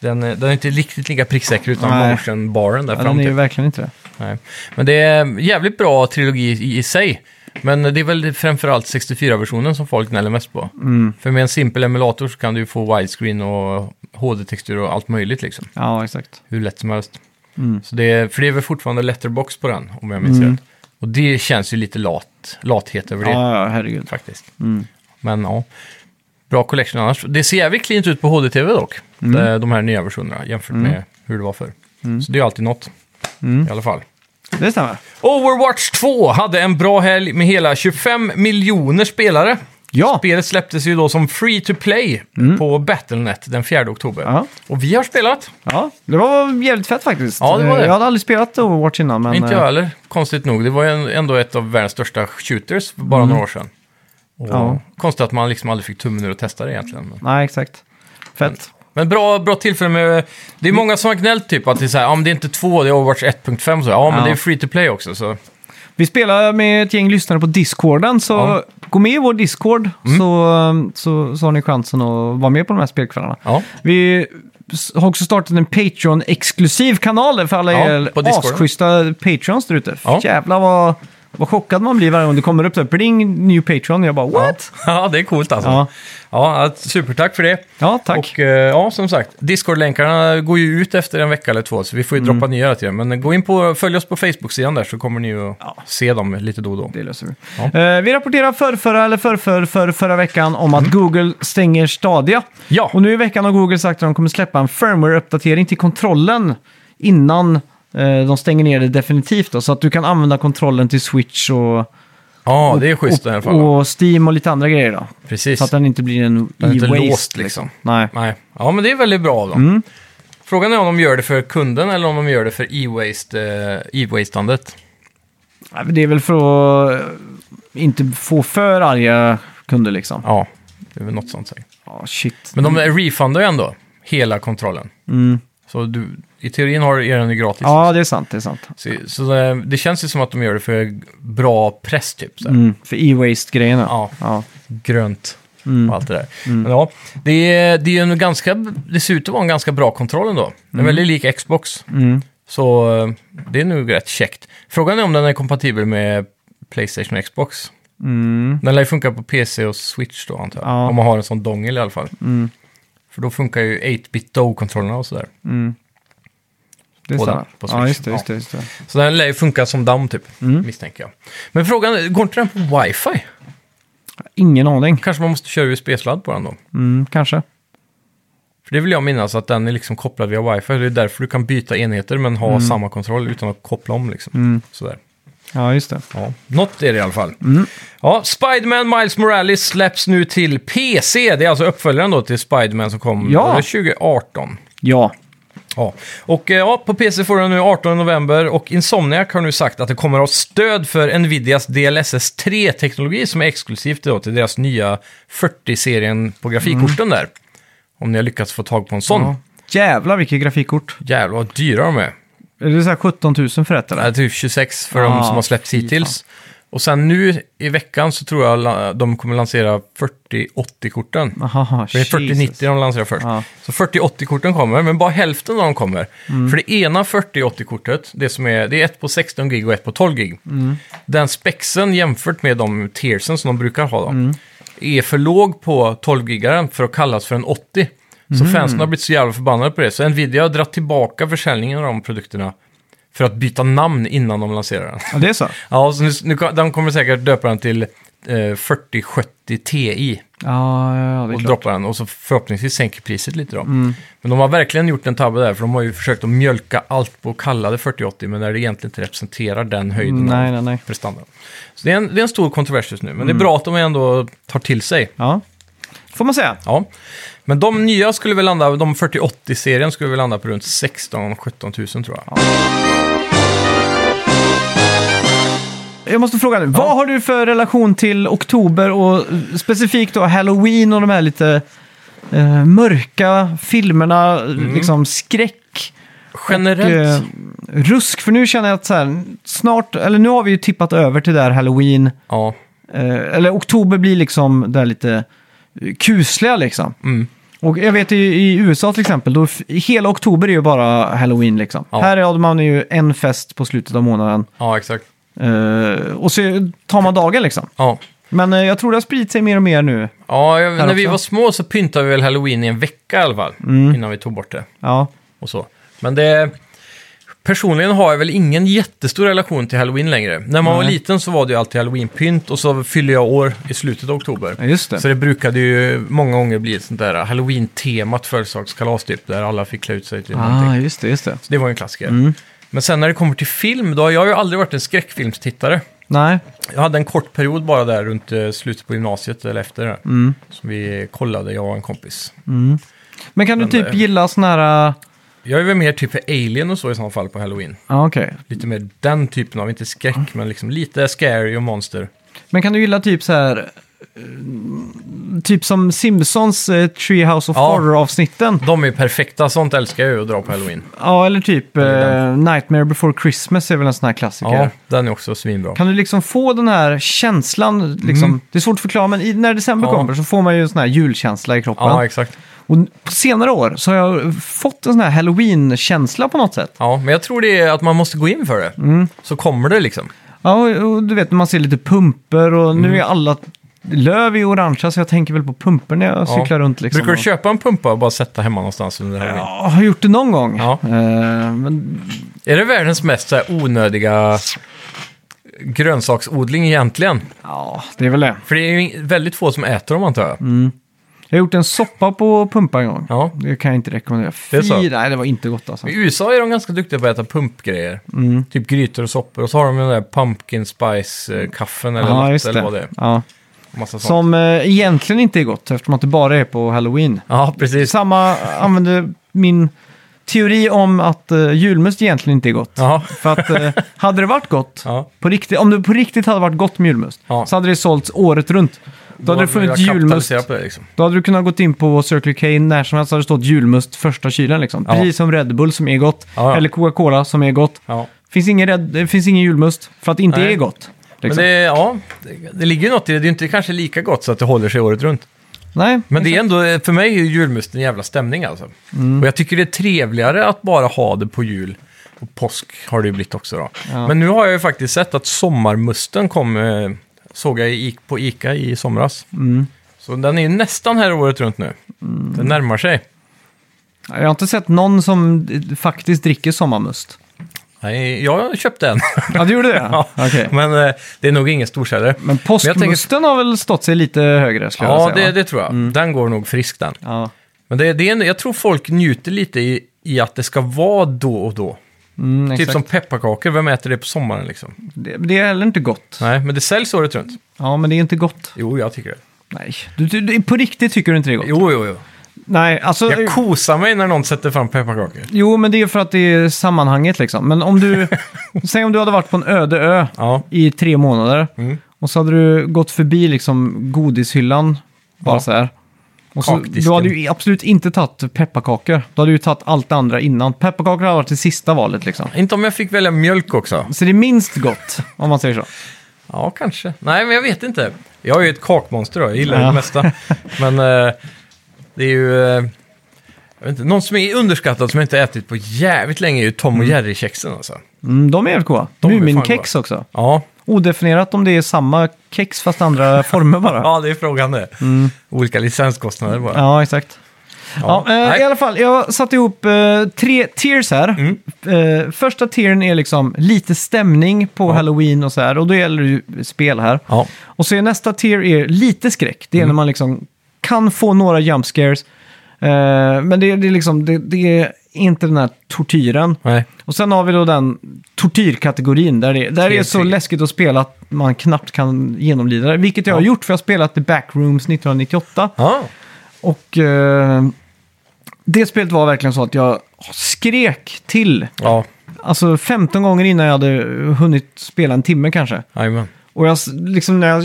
B: Den, är- den är inte riktigt lika pricksäker utan
A: Nej.
B: motion-baren där
A: Ja,
B: fram
A: den är ju
B: till.
A: verkligen inte det.
B: Nej. Men det är en jävligt bra trilogi i, i sig. Men det är väl framförallt 64-versionen som folk gnäller mest på.
A: Mm.
B: För med en simpel emulator så kan du ju få widescreen och HD-textur och allt möjligt liksom.
A: Ja, exakt.
B: Hur lätt som helst.
A: Mm.
B: Så det är, för det är väl fortfarande letterbox på den, om jag minns rätt. Och det känns ju lite lat, lathet över det,
A: Ja, ja, herregud.
B: faktiskt.
A: Mm.
B: Men ja, bra collection annars. Det ser jävligt klint ut på HDTV dock,
A: Mm.
B: Eh, de- de här nya versionerna, jämfört med hur det var förr. Så det är alltid något,
A: Mm.
B: i alla fall.
A: Det stämmer.
B: Overwatch 2 hade en bra helg med hela 25 miljoner spelare.
A: Ja!
B: Spelet släpptes ju då som free to play på Battlenet den 4 oktober.
A: Mm. Ja.
B: Och vi har spelat.
A: ja, det var jävligt fett faktiskt.
B: Ja, det var det.
A: Jag hade aldrig spelat Overwatch innan, men...
B: Inte
A: eh,
B: jag heller, konstigt nog. Det var ju en- ändå ett av världens största shooters för bara några år sedan. Och
A: Mm. Ja.
B: Konstigt att man liksom aldrig fick tummen ur att testa det egentligen. Men,
A: Nej, exakt. Fett.
B: men bra, bra tillfälle med... Det är många som har gnällt typ att det är så här, ja men det är inte två, det är Overwatch 1.5 så. Ja, men
A: Ja.
B: det är free to play också så.
A: Vi spelar med ett gäng lyssnare på Discorden, så
B: Ja. Mm.
A: gå med i vår Discord så, eh, så, så har ni chansen att vara med på de här spelkvällarna.
B: Ja,
A: Vi s- har också startat en Patreon-exklusiv kanal där för alla
B: Ja,
A: er
B: på Discord.
A: asschyssta Patreons där ute.
B: Ja.
A: Jävlar vad, vad chockad man blir varje gång det kommer upp så här, pling, new Patreon. Jag bara what?
B: ja det är coolt alltså.
A: Ja.
B: Ja, att- supertack för det.
A: Ja, tack.
B: Och eh, ja, som sagt, Discord-länkarna går ju ut efter en vecka eller två, så vi får ju
A: Mm.
B: droppa nya hela tiden. Men gå in på, följ oss på Facebook-sidan där så kommer ni ju att se dem lite då och då.
A: Det löser vi.
B: Ja.
A: Eh, vi rapporterar förra, förra eller förra, förra, förra, förra veckan om att
B: Mm.
A: Google stänger Stadia.
B: Ja.
A: Och nu i veckan har Google sagt att de kommer släppa en firmware-uppdatering till kontrollen innan eh, de stänger ner det definitivt. Då, så att du kan använda kontrollen till Switch och,
B: Ja, det är schysst i alla
A: och,
B: fall.
A: och Steam och lite andra grejer. Då.
B: Precis.
A: Så att den inte blir en
B: Den är inte
A: e-waste.
B: låst, liksom.
A: Nej.
B: Nej. Ja, men det är väldigt bra då.
A: Mm.
B: Frågan är om de gör det för kunden eller om de gör det för e-waste, eh, e-wastandet.
A: Nej, men Det är väl för att eh, inte få för arga kunder liksom. Ja,
B: Ja, det är väl något sånt säkert.
A: shit.
B: Men de refundar ju ändå hela kontrollen. Så du, i teorin har du- är den ju gratis.
A: Mm. Ja, det är sant. Det är sant.
B: Så, så eh, det känns ju som att de gör det för bra press typ. Så här.
A: Mm, för e-waste-grejerna.
B: Ja.
A: Ja.
B: grönt
A: Mm.
B: och allt det där. Men ja, det, är, det, är en ganska, det ser ut att vara en ganska bra kontroll ändå. Den
A: Mm.
B: är väldigt lik Xbox. Så eh, det är nog rätt käckt. Frågan är om den är kompatibel med Playstation och Xbox.
A: Mm,
B: Den lär ju funka på PC och Switch då antar jag.
A: Ja. Mm.
B: Om man har en sån dongel i alla fall. För då funkar ju 8-bit Do-kontrollerna och sådär.
A: Det
B: Båda
A: stämmer.
B: på
A: ja, just
B: Switch.
A: det, just det,
B: Ja.
A: just det.
B: Så den lär ju funka som damm typ,
A: Mm.
B: misstänker jag. Men frågan är, går inte den på wifi?
A: Ingen aning.
B: Kanske man måste köra USB-sladd på den då?
A: Mm, kanske.
B: För det vill jag minnas att den är liksom kopplad via wifi. Det är därför du kan byta enheter men
A: Mm.
B: ha samma kontroll utan att koppla om liksom. Sådär.
A: Ja, just det.
B: Ja, något är det i alla fall.
A: Mm.
B: Ja, Spiderman Miles Morales släpps nu till PC. Det är alltså uppföljaren då till Spiderman som kom
A: Ja.
B: var det 2018.
A: Ja.
B: Ja. Och eh, ja, på PC får den nu 18 november och Insomniac har nu sagt att det kommer att ha stöd för Nvidias DLSS 3-teknologi som är exklusivt då till deras nya 40-serien på grafikkorten där. Om ni har lyckats få tag på en sån.
A: Mm. ja. Jävlar vilket grafikkort.
B: Jävlar vad dyra de är.
A: Är det så här 17 000 för ett eller?
B: Nej, typ 26 för
A: Ah,
B: de som har släppts
A: fy
B: hittills. Och sen nu i veckan så tror jag la- de kommer lansera 4080-korten.
A: Aha,
B: För det är 4090 de lanserar först.
A: Ja.
B: Så 4080-korten kommer, men bara hälften av dem kommer.
A: Mm.
B: För det ena 4080-kortet, det, som är, det är ett på 16 gig och ett på 12 gig.
A: Mm.
B: Den spexen jämfört med de tearsen som de brukar ha då,
A: Mm.
B: är för låg på 12 gigaren för att kallas för en 80. Så
A: Mm.
B: fansen har blivit så jävla förbannade på det. Så Nvidia har dragit tillbaka försäljningen av de produkterna för att byta namn innan de lanserar den.
A: Ja, det är så.
B: Ja, så nu, nu, de kommer säkert döpa den till eh, 4070 Ti
A: Ja, ja, ja, det är
B: och
A: klart. Mm.
B: droppar den och så förhoppningsvis sänker priset lite då. Men de har verkligen gjort en tabbe där, för de har ju försökt att mjölka allt på att kalla det 4080, men när det egentligen inte representerar den höjden
A: Nej,
B: av
A: nej, Mm. nej.
B: prestandan. Så det är, en, det är en stor kontrovers just nu, men det är bra att de ändå tar till sig.
A: Ja. Får man säga.
B: Ja. Men de nya skulle väl landa, de 4080-serien skulle väl landa på runt 16-17 000 tror jag.
A: Jag måste fråga nu, vad har du för relation till oktober och specifikt då halloween och de här lite eh, mörka filmerna,
B: Mm.
A: liksom skräck och
B: Generellt
A: eh, rusk? För nu känner jag att så här, snart, eller nu har vi ju tippat över till där halloween,
B: Ja.
A: eh, eller oktober blir liksom där lite eh, kusliga liksom.
B: Mm.
A: Och jag vet i, i USA till exempel, då f- hela oktober är ju bara halloween liksom.
B: Ja.
A: Här hade man ju en fest på slutet av månaden.
B: ja, exakt.
A: Eh, och så tar man dagen liksom.
B: Ja.
A: Men eh, jag tror det har spridit sig mer och mer nu.
B: Ja, jag, när vi
A: också. Mm.
B: var små så pyntade vi väl halloween i en vecka i alla fall. Innan vi tog bort det
A: Ja,
B: och så. Men det... Personligen har jag väl ingen jättestor relation till halloween längre. När man var
A: Nej.
B: liten så var det ju alltid halloweenpynt och så fyllde jag år i slutet av oktober.
A: ja, just det.
B: Så det brukade ju många gånger bli ett sånt där halloween-temat födelsedagskalas typ, där alla fick klä ut sig till
A: ah, Mm.
B: någonting.
A: just det, just det.
B: Så det var ju en klassiker. Men sen när det kommer till film, då har jag ju aldrig varit en skräckfilmstittare.
A: Nej,
B: Jag hade en kort period bara där runt eh, slutet på gymnasiet eller efter det.
A: Mm.
B: Som vi kollade, jag och en kompis.
A: men kan du typ
B: eh,
A: gilla såna här... eh,
B: Jag är väl mer typ för alien och så i så fall på halloween.
A: Ja, okej.
B: Lite mer den typen av, inte
A: Mm.
B: skräck, men liksom lite scary och monster.
A: Men kan du gilla typ så här... eh, Typ som Simpsons eh, Treehouse of
B: Ja.
A: Horror-avsnitten.
B: De är ju perfekta, sånt älskar jag ju att dra på halloween.
A: Ja, eller typ eh,
B: Eller
A: Nightmare Before Christmas är väl en sån här klassiker.
B: Ja, den är också svinbra.
A: Kan du liksom få den här känslan, liksom, det är svårt att förklara, men i, när december
B: Mm. Ja.
A: kommer så får man ju en sån här julkänsla i kroppen.
B: Ja, exakt.
A: Och på senare år så har jag fått en sån här halloween-känsla på något sätt.
B: Ja, men jag tror det är att man måste gå in för det.
A: Mm.
B: Så kommer det liksom.
A: Ja, och, och du vet när man ser lite pumper och
B: Mm.
A: nu är alla löv i orangea så jag tänker väl på pumper när jag
B: Ja.
A: cyklar runt. Liksom,
B: Brukar du
A: Och-
B: köpa en pumpa och bara sätta hemma någonstans under halloween?
A: Ja, har gjort det någon gång.
B: Ja.
A: Eh, men,
B: Är det världens mest så här, onödiga grönsaksodling egentligen?
A: ja, det är väl det.
B: För det är ju ing- väldigt få som äter dem antar jag.
A: Mm. Jag har gjort en soppa på pumpa en gång.
B: Ja.
A: Det kan jag inte rekommendera.
B: Det är så.
A: Fy, nej, det var inte gott alltså.
B: I USA är de ganska duktiga på att äta pumpgrejer.
A: Mm.
B: Typ grytor och soppor. Och så har de den där pumpkin spice-kaffen eller
A: Ja,
B: latte
A: just
B: eller vad det
A: det.
B: är.
A: Ja.
B: Massa sånt.
A: Som eh, egentligen inte är gott eftersom att det bara är på halloween.
B: Ja, precis.
A: Samma använde min teori om att eh, julmust egentligen inte är gott.
B: Ja.
A: För att eh, hade det varit gott,
B: Ja.
A: på riktigt, om det på riktigt hade varit gott med julmust,
B: Ja.
A: så hade det sålts året runt. Då hade det funnits
B: Jag
A: julmust.
B: kapitaliserar på det, liksom.
A: Då hade du kunnat gått in på Circle K när som helst hade det stått julmust första kylen. Liksom.
B: Ja.
A: Precis som Red Bull som är gott,
B: Ja, ja.
A: eller Coca-Cola som är gott.
B: Ja.
A: Finns ingen, Red, det finns ingen julmust för att det inte
B: Nej.
A: är gott.
B: Men
A: Liksom.
B: det, ja, det, det ligger ju något i det. Det är ju inte kanske lika gott så att det håller sig året runt.
A: Nej,
B: Men det är ändå, eh, för mig är ju julmusten en jävla stämning alltså.
A: Mm.
B: Och jag tycker det är trevligare att bara ha det på jul. Och påsk har det ju blivit också då. Men nu har jag ju faktiskt sett att sommarmusten kom, eh, såg jag i, på Ica i somras.
A: Mm.
B: Så den är ju nästan här året runt nu. Den närmar sig.
A: jag har inte sett någon som eh, faktiskt dricker sommarmust.
B: Nej, jag köpte en.
A: Ja, du gjorde det?
B: Ja.
A: Okej.
B: Men eh, det är nog ingen storsäljare.
A: Men påskmusten har väl stått sig lite högre skulle
B: Ja,
A: jag säga? va?
B: det,
A: Mm.
B: det tror jag. Den går nog frisk den.
A: Ja.
B: Men det, det är, en- jag tror folk njuter lite i, i att det ska vara då och då.
A: Mm,
B: Typ
A: exakt.
B: som pepparkakor, vem äter det på sommaren liksom?
A: det, det är heller inte gott.
B: Nej, men det säljs året runt.
A: Ja, men det är inte gott.
B: Jo, jag tycker det.
A: Nej. Du, du, du, på riktigt tycker du inte det är gott?
B: Jo, jo, jo.
A: Nej, alltså...
B: Jag kosar mig när någon sätter fram pepparkakor.
A: Jo, men det är för att det är sammanhanget liksom. Men om du... säg om du hade varit på en öde ö
B: Ja,
A: i tre månader.
B: Mm.
A: Och så hade du gått förbi liksom godishyllan. Bara
B: Ja.
A: så här. Och så,
B: Kakdisken.
A: du hade ju absolut inte tagit pepparkakor. Du hade ju tagit allt det andra innan. Pepparkakor hade varit det sista valet liksom.
B: inte om jag fick välja mjölk också.
A: Så det är minst gott, om man säger så.
B: Ja, kanske. Nej, men jag vet inte. Jag är ju ett kakmonster då, jag gillar
A: Ja.
B: det mesta. Men eh, det är ju... Eh, jag vet inte, någon som är underskattad som jag inte ätit på jävligt länge är ju Tom och Jerry-kexen alltså.
A: Mm, de är jävligt goda.
B: De är fan
A: Muminkex också.
B: Ja,
A: Odefinierat om det är samma kex fast andra former bara.
B: ja det är frågan det. Olika licenskostnader bara.
A: Ja, exakt. Mm. Ja, eh,
B: Nej. Mm.
A: I alla fall, jag satte ihop eh, tre tiers här. Eh, första tiern är liksom lite stämning på halloween och så här. Och då gäller det ju spel här.
B: ja. Mm.
A: Och så är nästa tier är lite skräck. Det är när man liksom kan få några jump scares. Eh, men det, det, är liksom, det, det är inte den här tortyren.
B: Nej.
A: Och sen har vi då den tortyrkategorin där det, där det är så
B: Tre, tre.
A: läskigt att spela att man knappt kan genomlida det. Vilket jag har
B: Ja.
A: gjort för jag har spelat The Backrooms 1998.
B: Ja.
A: Och eh, det spelet var verkligen så att jag skrek till.
B: Ja,
A: Alltså 15 gånger innan jag hade hunnit spela en timme kanske.
B: jajamän.
A: Och jag, s- liksom, när jag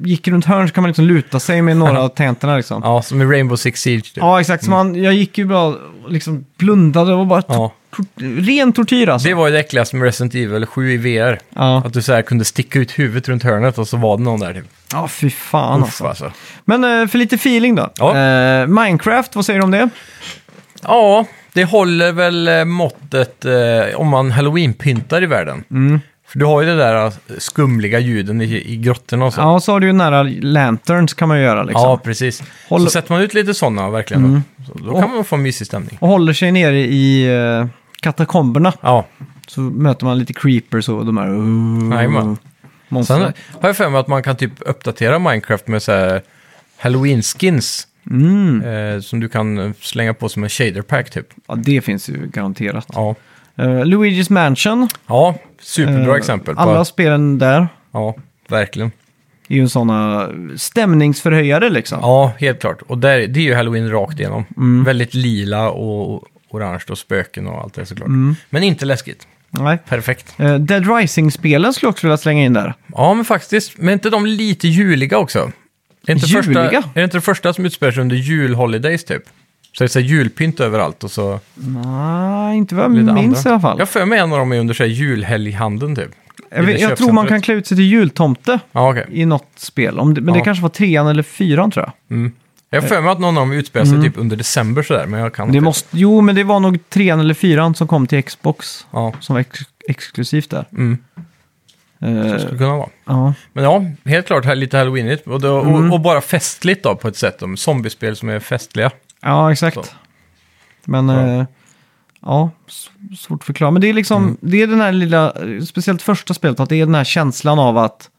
A: gick runt hörn så kan man liksom luta sig med några av tangenterna liksom.
B: Ja, som i Rainbow Six Siege. Typ.
A: Ja, exakt. Så man, jag gick ju bara och liksom blundade och bara...
B: Ja.
A: Tor- ren tortyr alltså.
B: Det var ju det äckligaste med Resident Evil 7 i VR.
A: Ja,
B: Att du så här kunde sticka ut huvudet runt hörnet och så var det någon där. Typ.
A: ja fy fan
B: Uff,
A: alltså.
B: alltså.
A: Men eh, för lite feeling då.
B: Ja.
A: Eh, Minecraft, vad säger du om det?
B: Ja, det håller väl eh, måttet eh, om man halloween-pyntar i världen.
A: Mm.
B: För du har ju det där eh, skumliga ljuden i, i grottorna och så.
A: Ja, så har du ju nära lanterns kan man ju göra liksom.
B: Ja, precis.
A: Håll-
B: Så sätter man ut lite sådana verkligen.
A: Mm.
B: Då, så, då kan man få en mysig stämning.
A: Och håller sig nere i eh, katakomberna
B: Ja,
A: så möter man lite creepers och de här... Uh,
B: Jajamän. sen
A: monstren.
B: har jag för mig att man kan typ uppdatera Minecraft med så här halloween-skins.
A: Mm.
B: Eh, som du kan eh, slänga på som en shader pack typ.
A: Ja, det finns ju garanterat.
B: Ja,
A: Eh, Luigi's Mansion.
B: ja superbra
A: Eh,
B: exempel. På,
A: Alla spelen där
B: Ja, verkligen.
A: är ju en såna stämningsförhöjare liksom.
B: Ja, helt klart. Och där, det är ju halloween rakt igenom.
A: Mm.
B: Väldigt lila och orange och spöken och allt det såklart.
A: Mm.
B: Men inte läskigt.
A: Nej.
B: Perfekt.
A: Eh, Dead Rising-spelen skulle jag också vilja slänga in där.
B: Ja, men faktiskt. Men är inte de lite juliga också? Är inte Första,
A: Juliga?
B: är det inte det första som utspelar sig under julholidays typ? Så det är så här julpynt överallt och så
A: Nej, inte vad jag
B: lite
A: minns
B: andra.
A: i alla fall.
B: Jag har för mig en av dem är under så här julhelghandeln typ.
A: Jag,
B: i
A: vet-
B: det
A: jag tror man kan
B: köpcentret.
A: klä ut sig till jultomte
B: Ja, okej.
A: i något spel. Om det, men det
B: Ja.
A: kanske var trean eller fyran tror jag.
B: Jag har för mig att någon av dem utspelar sig typ under december sådär, men jag kan
A: Mm. Det
B: inte.
A: måste, jo, men det var nog trean eller fyran som kom till Xbox.
B: Ja,
A: Som var ex exklusivt där.
B: Mm.
A: Eh,
B: så skulle det kunna vara.
A: ja.
B: Men ja, helt klart här lite halloweenigt. Och, då,
A: Mm.
B: och, och bara festligt då på ett sätt. De zombiespel som är festliga.
A: ja, exakt.
B: Så.
A: Men
B: Ja. Mm.
A: ja, ja s- svårt att förklara. Men det är liksom, det är den här lilla, eh, speciellt första spelet, att det är den här känslan av att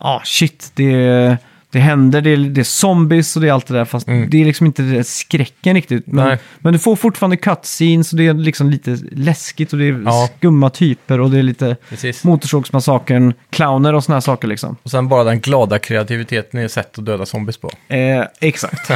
A: ja, shit, det, det händer, det, är- det är zombies och det är allt det där. Fast
B: Mm.
A: det är liksom inte det där skräcken riktigt. Men,
B: Nej.
A: men du får fortfarande cutscenes och det är liksom lite läskigt och det är
B: Ja.
A: skumma typer och det är lite
B: Precis.
A: Motorsågsmassakern, clowner och såna här saker liksom.
B: Och sen bara den glada kreativiteten i sätt att döda zombies på.
A: Eh, exakt.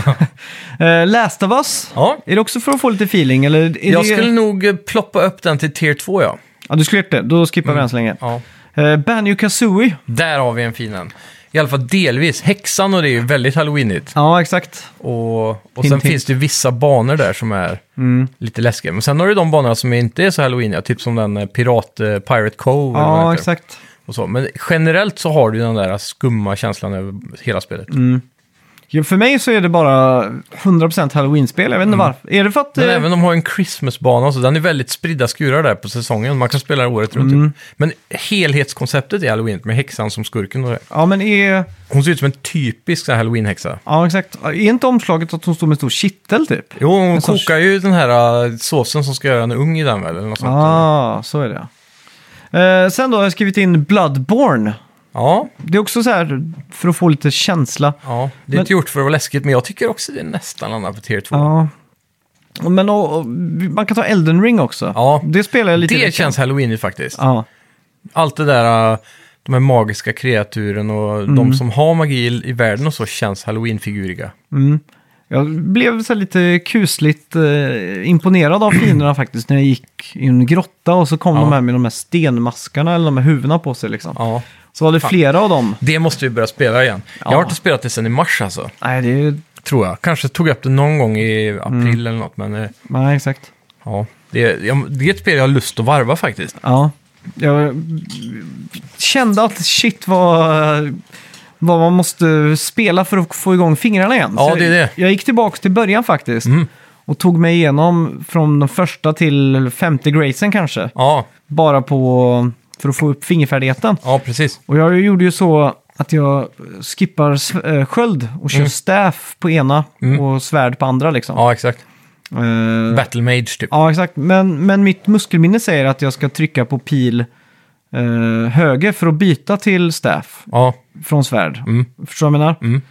A: eh, Last of us.
B: Ja,
A: Är det också för att få lite feeling? Eller är
B: jag
A: det...
B: skulle nog eh, ploppa upp den till tier 2 ja.
A: Ja, du skulle gjort det. Då skippar vi den så länge.
B: Mm. ja.
A: Eh, Banjo Kazooie.
B: Där har vi en fin en. I alla fall delvis. Häxan och det är ju väldigt halloweenigt.
A: Ja, exakt.
B: Och, och
A: Hint,
B: sen
A: hint.
B: finns det ju vissa banor där som är
A: Mm.
B: lite läskiga. Men sen har du de banorna som inte är så halloweeniga. Typ som den eh, Pirat eh, Pirate Cove. eller vad den
A: Ja,
B: heter.
A: exakt.
B: och så. Men generellt så har du den där skumma känslan över hela spelet.
A: Mm. Ja, för mig så är det bara 100% halloween-spel. Jag vet inte varför. Är det för att...
B: Mm. Men
A: eh,
B: även de har en Christmas-bana och så, den är väldigt spridda skurar där på säsongen. Man kan spela den året runt.
A: Mm.
B: Typ. Men helhetskonceptet är halloween med häxan som skurken. Och det.
A: Ja, men är...
B: Hon ser ut som en typisk sån här halloween-häxa.
A: Ja, exakt. Är inte omslaget att hon står med en stor kittel typ?
B: Jo, hon
A: sorts-
B: kokar ju den här äh, såsen som ska göra en ung i den väl, eller något sånt.
A: ah, så är det. Eh, sen då har jag skrivit in Bloodborne.
B: Ja,
A: Det är också så här för att få lite känsla.
B: ja, det är
A: Men-
B: inte gjort för att vara läskigt, men jag tycker också det är nästan landar på tier 2.
A: Ja. Och Men och, och, man kan ta Elden Ring också.
B: Ja.
A: Det spelar jag lite i
B: det
A: veckan.
B: känns halloweenigt faktiskt.
A: Ja.
B: Allt det där, äh, de här magiska kreaturen och
A: Mm.
B: de som har magi i- i världen och så känns halloween-figuriga.
A: Jag blev så här lite kusligt eh, imponerad av fienderna faktiskt när jag gick i en grotta och så kom
B: Ja.
A: de här med de här stenmaskarna eller de här huvudena på sig liksom.
B: Ja.
A: Så var det flera av dem.
B: Det måste vi börja spela igen. Jag
A: Ja.
B: har inte spelat det sedan i mars alltså.
A: Nej, det är...
B: Tror jag. Kanske tog jag upp det någon gång i
A: Mm.
B: april eller något, men eh,
A: Nej, exakt.
B: ja. Det, jag- det är ett spel jag har lust att varva faktiskt.
A: Ja. Jag kände att shit vad, vad man måste spela för att få igång fingrarna igen.
B: Ja,
A: Så
B: det är det. Mhm.
A: Jag gick tillbaka till början faktiskt. Och tog mig igenom från den första till femte gracen kanske.
B: Ja,
A: Bara på, för att få upp fingerfärdigheten.
B: ja precis.
A: Och jag gjorde ju så att jag skippar s- eh, sköld och
B: Mm.
A: kör staff på ena och svärd på andra liksom.
B: Ja, exakt.
A: Eh,
B: Battle Mage typ.
A: Ja, exakt. Men, men mitt muskelminne säger att jag ska trycka på pil eh, höger för att byta till staff
B: Ja,
A: från svärd.
B: Mm.
A: Förstår du vad jag menar?
B: Mm.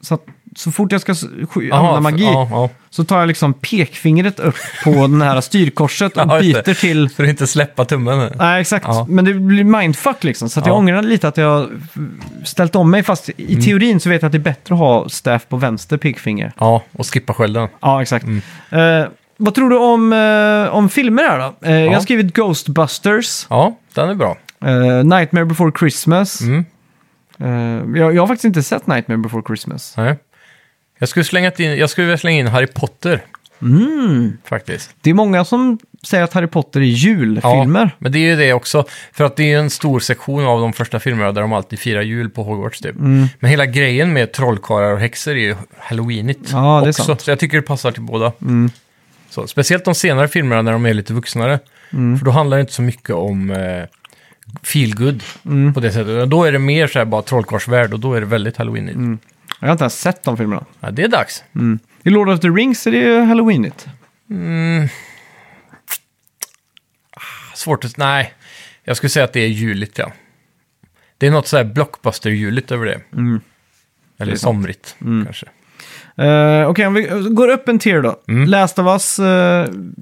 A: Så att så fort jag ska s- sk-
B: Aha,
A: använda magi
B: Ja, ja.
A: så tar jag liksom pekfingret upp på den här styrkorset och
B: Ja, just det.
A: byter till...
B: För att inte släppa tummen.
A: Nej, exakt.
B: Ja.
A: Men det blir mindfuck liksom. Så att jag
B: Ja. Mm.
A: ångrar lite att jag ställt om mig. Fast i teorin så vet jag att det är bättre att ha staff på vänster pekfinger.
B: Ja, och skippa skölden.
A: Ja, exakt.
B: Mm.
A: Eh, vad tror du om, eh, om filmer här då? Eh, Jag har skrivit Ghostbusters,
B: Ja, den är bra.
A: eh, Nightmare Before Christmas.
B: Mm.
A: Eh, jag, jag har faktiskt inte sett Nightmare Before Christmas.
B: Nej. Jag skulle, slänga in, jag skulle vilja slänga in Harry Potter. Mm. Faktiskt.
A: Det är många som säger att Harry Potter är julfilmer.
B: men det är ju det också. För att det är ju en stor sektion av de första filmerna där de alltid firar jul på Hogwarts typ.
A: Mm.
B: Men hela grejen med trollkarlar och häxor är ju halloweenigt
A: Ja, det är
B: också.
A: sant. Mm.
B: Så jag tycker det passar till båda. Så, speciellt de senare filmerna när de är lite vuxnare.
A: Mm.
B: För då handlar det inte så mycket om eh, feel good
A: Mm.
B: på det sättet. Då är det mer så här bara trollkarlsvärld och då är det väldigt halloweenigt.
A: Mm. Jag har inte ens sett de filmerna.
B: Ja, det är dags.
A: I Lord of the Rings är det ju halloweenigt.
B: Svårt att... Nej, jag skulle säga att det är juligt, ja. Det är något så här blockbuster-juligt över det. Eller
A: Mm. Det är sant. Mm.
B: somrigt, kanske.
A: Eh, Okej, om vi går upp en tier då. Last of Us eh,
B: Mm.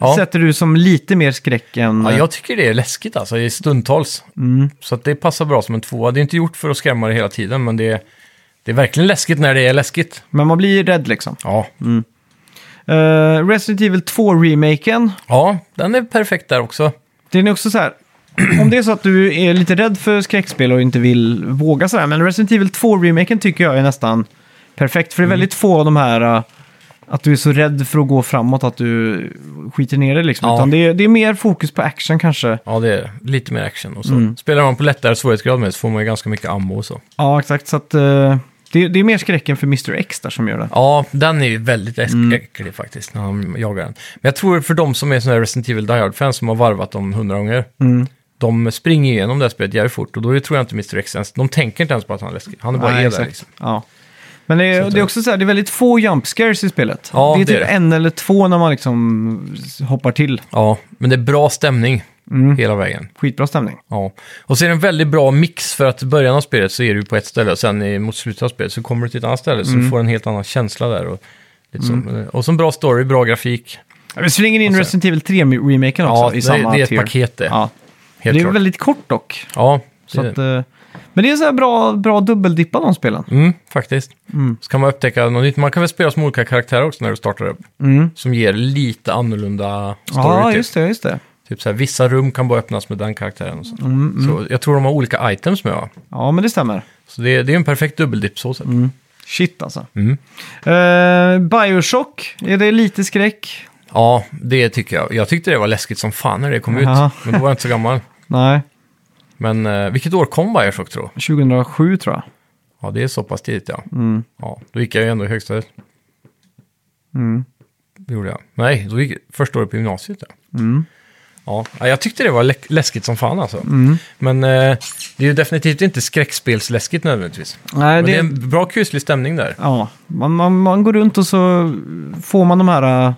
B: Ja.
A: sätter du som lite mer skräck än...
B: ja, jag tycker det är läskigt alltså, i stundtals.
A: Mm.
B: Så att det passar bra som en tvåa. Det är inte gjort för att skrämma dig hela tiden, men det är, det är verkligen läskigt när det är läskigt.
A: Men man blir ju rädd liksom.
B: Ja.
A: Eh, Resident Evil 2-remaken.
B: ja, den är perfekt där också.
A: Det är nog också så här. Om det är så att du är lite rädd för skräckspel och inte vill våga sådär. Men Resident Evil 2-remaken tycker jag är nästan perfekt.
B: Mm.
A: För det är väldigt få av de här eh, att du är så rädd för att gå framåt att du skiter ner dig liksom.
B: Ja.
A: Utan det är, det är mer fokus på action kanske.
B: Ja, det är lite mer action och så.
A: Mm.
B: Spelar man på lättare svårighetsgrad med så får man ju ganska mycket ammo och så.
A: Ja, exakt. Så att, eh, det, det är mer skräcken för Mr. X där som gör det.
B: Ja, den är ju väldigt
A: Mm.
B: äcklig faktiskt när han jagar den. Men jag tror för de som är sådana här Resident Evil Die Hard-fans som har varvat dem hundra gånger,
A: Mm.
B: de springer igenom det här spelet jävligt fort och då tror jag inte Mr. X ens, de tänker inte ens på att han är läskig. Han är bara
A: Nej,
B: är där
A: exakt.
B: liksom.
A: Ja. Men det är,
B: att
A: det är
B: det-
A: också så här, det är väldigt få jump scares i spelet.
B: Ja,
A: det är
B: det
A: typ
B: är det.
A: en eller två när man liksom hoppar till.
B: Ja, men det är bra stämning
A: Mm.
B: hela vägen.
A: Skitbra stämning.
B: Ja. Och så är det en väldigt bra mix för att i början av spelet så är du på ett ställe och sen i- mot slutet av spelet så kommer du till ett annat ställe
A: Mm.
B: så du får en helt annan känsla där. Och, liksom, och så en bra story, bra grafik.
A: Vi slänger in Resident Evil 3-remaken också
B: Ja, det
A: i
B: är-
A: samma
B: det är ett
A: tier.
B: paket det.
A: Ja.
B: Helt
A: det är
B: klart.
A: väldigt kort dock.
B: Ja,
A: Så
B: det-
A: att, eh, men det är så här bra, bra dubbeldippa de spelen.
B: Mm, faktiskt. Så kan man upptäcka något nytt. Man kan väl spela som olika karaktärer också när du startar upp. Som ger lite annorlunda story.
A: Ja,
B: typ.
A: just det. Just det.
B: Typ så här, vissa rum kan bara öppnas med den karaktären. Och så. så jag tror de har olika items med va?
A: Ja, men det stämmer.
B: Så det, det är en perfekt dubbeldipp så sett.
A: Shit alltså.
B: Mm.
A: Eh, Bioshock, är det lite skräck?
B: Ja, det tycker jag. Jag tyckte det var läskigt som fan när det kom
A: Jaha.
B: ut. Men då var jag inte så gammal.
A: Nej,
B: Men eh, vilket år kom Bioshock tror jag?
A: 2007 tror jag.
B: Ja, det är så pass tidigt ja.
A: Mm.
B: Ja, då gick jag ju ändå i högstadiet.
A: Mm.
B: Det gjorde jag. Nej, då gick jag första året på gymnasiet. Ja.
A: Mm.
B: Ja, ja, jag tyckte det var lä- läskigt som fan alltså.
A: Mm.
B: Men eh, det är ju definitivt inte skräckspelsläskigt nödvändigtvis.
A: Nej,
B: Men det är
A: det,
B: en bra kuslig stämning där.
A: Ja, man, man, man går runt och så får man de här, eh,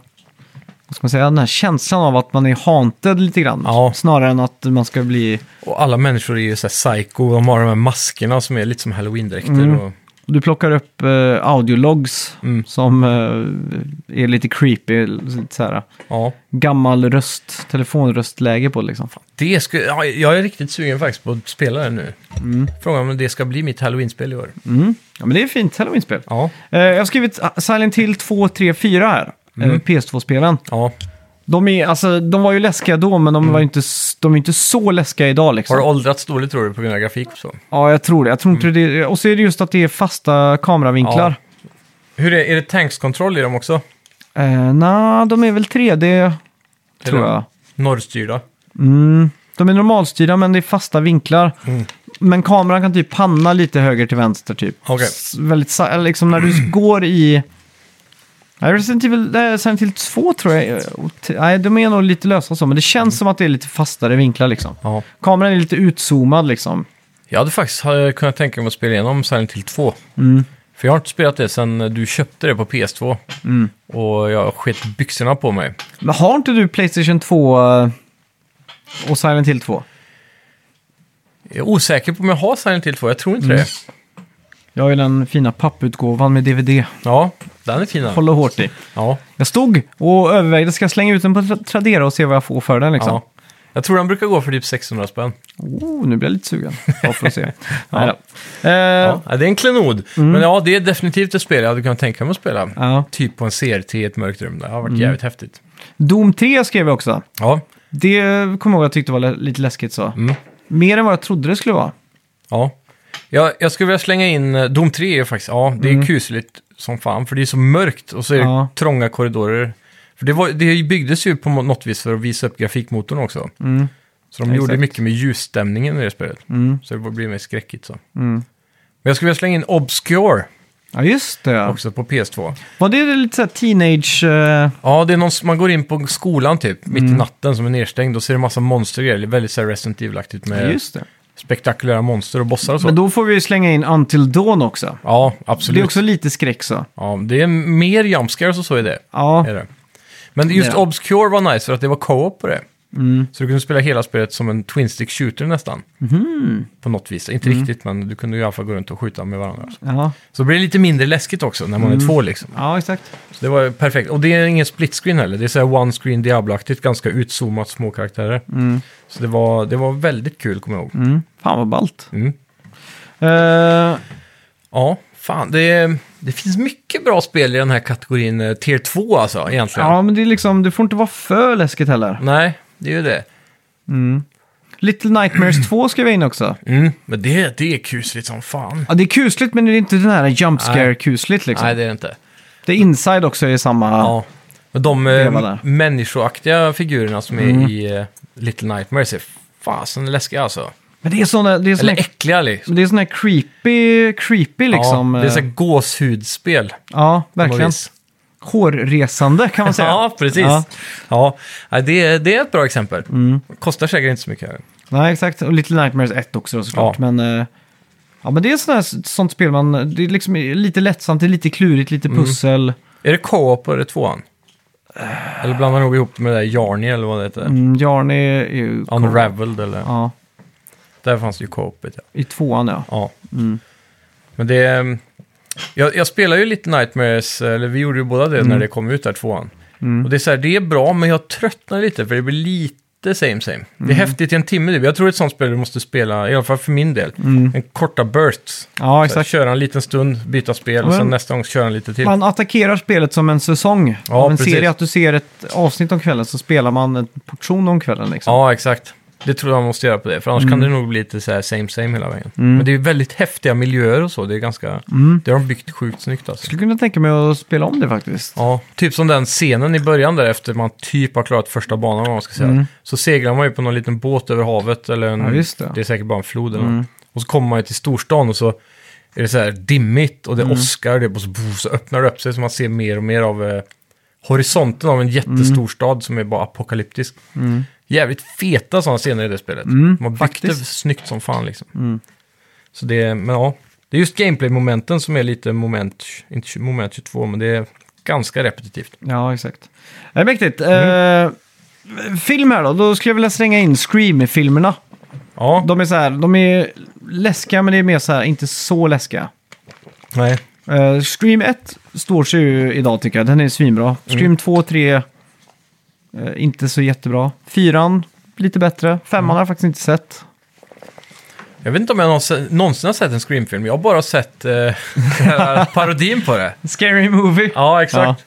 A: vad ska man säga, den här känslan av att man är haunted lite grann.
B: Ja.
A: Snarare än att man ska bli...
B: Och alla människor är ju så här psycho, de har de här maskerna som är lite som halloween-dräkter.
A: Mm.
B: Och,
A: Du plockar upp eh, audiologs
B: Mm.
A: som eh, är lite creepy, lite så här
B: ja.
A: gammal röst, telefonröstläge på liksom.
B: Det sku, ja, jag är riktigt sugen faktiskt på att spela det nu.
A: Mm.
B: Frågan om det ska bli mitt halloween-spel i år.
A: Ja, men det är ett fint halloween-spel.
B: Ja,
A: Eh, jag har skrivit ah, Silent Hill 2, 3, 4 här.
B: Mm.
A: Eh, PS2-spelen.
B: ja.
A: De, är, alltså, de var ju läskiga då, men de, var ju inte, s- de är inte så läskiga idag. Liksom.
B: Mm. Har Mm. det åldrats dåligt tror du på grund av grafik och så?
A: Ja, jag tror det. Jag tror inte det. Och så är det just att det är fasta kameravinklar.
B: Hur är, är det tankskontroll i dem också?
A: Eh, Nej, de är väl 3D, tror
B: Eller
A: jag.
B: Norrstyrda?
A: Mm. De är normalstyrda, men det är fasta vinklar. Men kameran kan typ panna lite höger till vänster, typ.
B: Okej.
A: S- väldigt, sa- eller liksom när du går i... Nej, Resident Evil, eh, Silent Hill 2 tror jag. eh, och t- Nej, de är nog lite lösa och så, men det känns som att det är lite fastare vinklar liksom.
B: Ja.
A: Kameran är lite utzoomad liksom.
B: Jag hade faktiskt eh, kunnat tänka mig att spela igenom Silent Hill 2. För jag har inte spelat det sedan du köpte det på PS2. Och jag sket byxorna på mig.
A: Men har inte du Playstation 2 eh, och Silent Hill 2?
B: Mm. Jag är osäker på om jag har Silent Hill 2, jag tror inte det.
A: Jag har ju den fina papputgåvan med DVD.
B: Ja, den är fin. den.
A: Håller hårt i.
B: Ja,
A: Jag stod och övervägde, ska jag slänga ut den på Tra- Tradera och se vad jag får för den liksom?
B: ja. Jag tror den brukar gå för typ 600 spänn.
A: Oh, nu blir jag lite sugen. Bara för att se. Nej då. Eh,
B: Ja. Mm. det är en klenod. Men ja, det är definitivt ett spel jag hade kunnat tänka mig att spela.
A: ja.
B: Typ på en CRT i ett mörkt rum. Det har varit jävligt häftigt.
A: Doom 3 skrev jag också.
B: Ja,
A: Det kommer jag ihåg att jag tyckte var lä- lite läskigt så.
B: Mm.
A: Mer än vad jag trodde det skulle vara.
B: ja. Jag, jag skulle vilja slänga in... eh, Doom 3 är ju faktiskt... Ja, det är kusligt som fan. För det är så mörkt och så är det
A: Mm. Ja.
B: trånga korridorer. För det, var, det byggdes ju på något vis för att visa upp grafikmotorn också.
A: Mm.
B: Så de
A: Ja,
B: gjorde
A: exakt.
B: mycket med ljusstämningen i det spelet.
A: Mm.
B: Så det blir mer skräckigt så.
A: Mm.
B: Men jag skulle vilja slänga in Obscure
A: Ja, just det.
B: också på PS2.
A: Var det lite såhär teenage... eh,
B: Ja, det är någon, man går in på skolan typ, mitt
A: Mm.
B: i natten som är nedstängd. Då ser det en massa monster och grejer. Det är väldigt så här Resident Evil-aktigt med
A: Just det.
B: spektakulära monster och bossar och Eh, så.
A: Men då får vi ju slänga in Until Dawn också.
B: Ja,
A: Det
B: absolut.
A: är också lite skräck så.
B: Ja, det är mer jumpscares och så i det.
A: Ja,
B: Är det. Men just
A: Ja. Mm.
B: Obscure var nice för att det var co-op på det. Så du kunde spela hela spelet som en twin stick shooter nästan.
A: Mhm.
B: På något vis. Inte
A: Mm.
B: riktigt, men du kunde ju i alla fall gå runt och skjuta med varandra.
A: ja.
B: Så det blir lite mindre läskigt också när man
A: Mm.
B: är två liksom.
A: ja exakt.
B: Så det var ju perfekt. Och det är ingen split screen heller. Det är så här one screen Diablo-aktigt, ganska utzoomat små karaktärer. Så det var, det var väldigt kul, kommer jag ihåg.
A: Mm. Fan vad ballt.
B: Mm.
A: Eh,
B: Ja, fan. Det, det finns mycket bra spel i den här kategorin eh, Tier 2 alltså, egentligen.
A: ja, men det är liksom, det får inte vara för läskigt heller.
B: Nej, det är ju det.
A: Little Nightmares 2 skrev jag in också.
B: Mm. Men det, det är kusligt som fan.
A: Ja, det är kusligt, men det är inte den här jump scare kusligt liksom.
B: Nej,
A: det...
B: det är det inte.
A: är Inside också i samma...
B: Ja. Men de
A: Det var
B: eh,
A: där.
B: människoaktiga figurerna som är i eh, Little Nightmares är fasen läskiga alltså.
A: Men det är såna, det är såna,
B: Eller äckliga liksom.
A: det är såna här creepy, creepy liksom.
B: ja, det är så
A: eh,
B: här gåshudspel. på
A: ja
B: något
A: verkligen.
B: vis.
A: Hårresande kan man säga.
B: Ja, precis.
A: Ja.
B: Ja. Mm. nej, det, det är ett bra exempel. Kostar säkert inte så mycket. Här.
A: Nej, exakt. Och Little Nightmares 1 också då, såklart. Men, eh, ja, men det är sån här, sånt spel man... Det är liksom lite lättsamt, det är lite klurigt, lite
B: Mm.
A: pussel.
B: Är det co-op och är det tvåan? Eller blandar man nog ihop det med det där Jarny eller vad det heter?
A: Mm, Jarn är är ju...
B: Unraveled eller?
A: Ja,
B: Där fanns det ju co-opet ja.
A: i tvåan ja.
B: ja. Men det... är- Jag, jag spelar ju lite Nightmares, eller vi gjorde ju båda det
A: Mm.
B: när det kom ut där tvåan. Och det är så här, det är bra men jag tröttnar lite för det blir lite same same. Det
A: Mm.
B: är häftigt i en timme typ. Jag tror ett sånt spel du måste spela, i alla fall för min del, en korta bursts.
A: Mm. Ja,
B: Så här,
A: exakt.
B: köra en liten stund, byta spel och
A: Ja, men-
B: sen nästa gång köra en lite till.
A: Man attackerar spelet som en säsong
B: Ja,
A: av en
B: precis.
A: serie. Att du ser ett avsnitt om kvällen så spelar man en portion om kvällen. Liksom.
B: Ja, exakt. Det tror jag man måste göra på det, för annars
A: Mm.
B: kan det nog bli lite så här same same hela vägen. Men det är ju väldigt häftiga miljöer och så, det är ganska...
A: Mm.
B: Det har de byggt sjukt snyggt alltså.
A: Jag skulle kunna tänka mig att spela om det faktiskt.
B: Ja, typ som den scenen i början där efter man typ har klarat första banan, vad man ska säga. Så seglar man ju på någon liten båt över havet eller en...
A: Mm. Ja, just det. Mm.
B: det är säkert bara en flod eller något. Och så kommer man ju till storstan och så är det så här dimmigt och det
A: Mm.
B: åskar och det och så, boom, så öppnar det upp sig så man ser mer och mer av eh, horisonten av en jättestor stad som är bara apokalyptisk. Jävligt feta sådana scener i det spelet. Mm, man byggt det
A: faktiskt.
B: snyggt som fan liksom. Så det, men ja. Det är just gameplay-momenten som är lite moment, inte 20 moment 22, men det är ganska repetitivt.
A: Ja, exakt. Det är mäktigt. Eh, film här då. Då skulle jag vilja slänga in Scream-filmerna.
B: Ja,
A: De är så här, de är läskiga men det är mer så här, inte så läskiga.
B: nej.
A: Eh, Scream 1 står sig ju idag tycker jag, den är svinbra. Scream 2 3, eh, inte så jättebra. Fyran, lite bättre. Femman har jag faktiskt inte sett.
B: Jag vet inte om jag någonsin, någonsin har sett en Scream-film. Jag har bara sett eh, den här parodin på det.
A: Scary Movie. Ja,
B: Ja, exakt.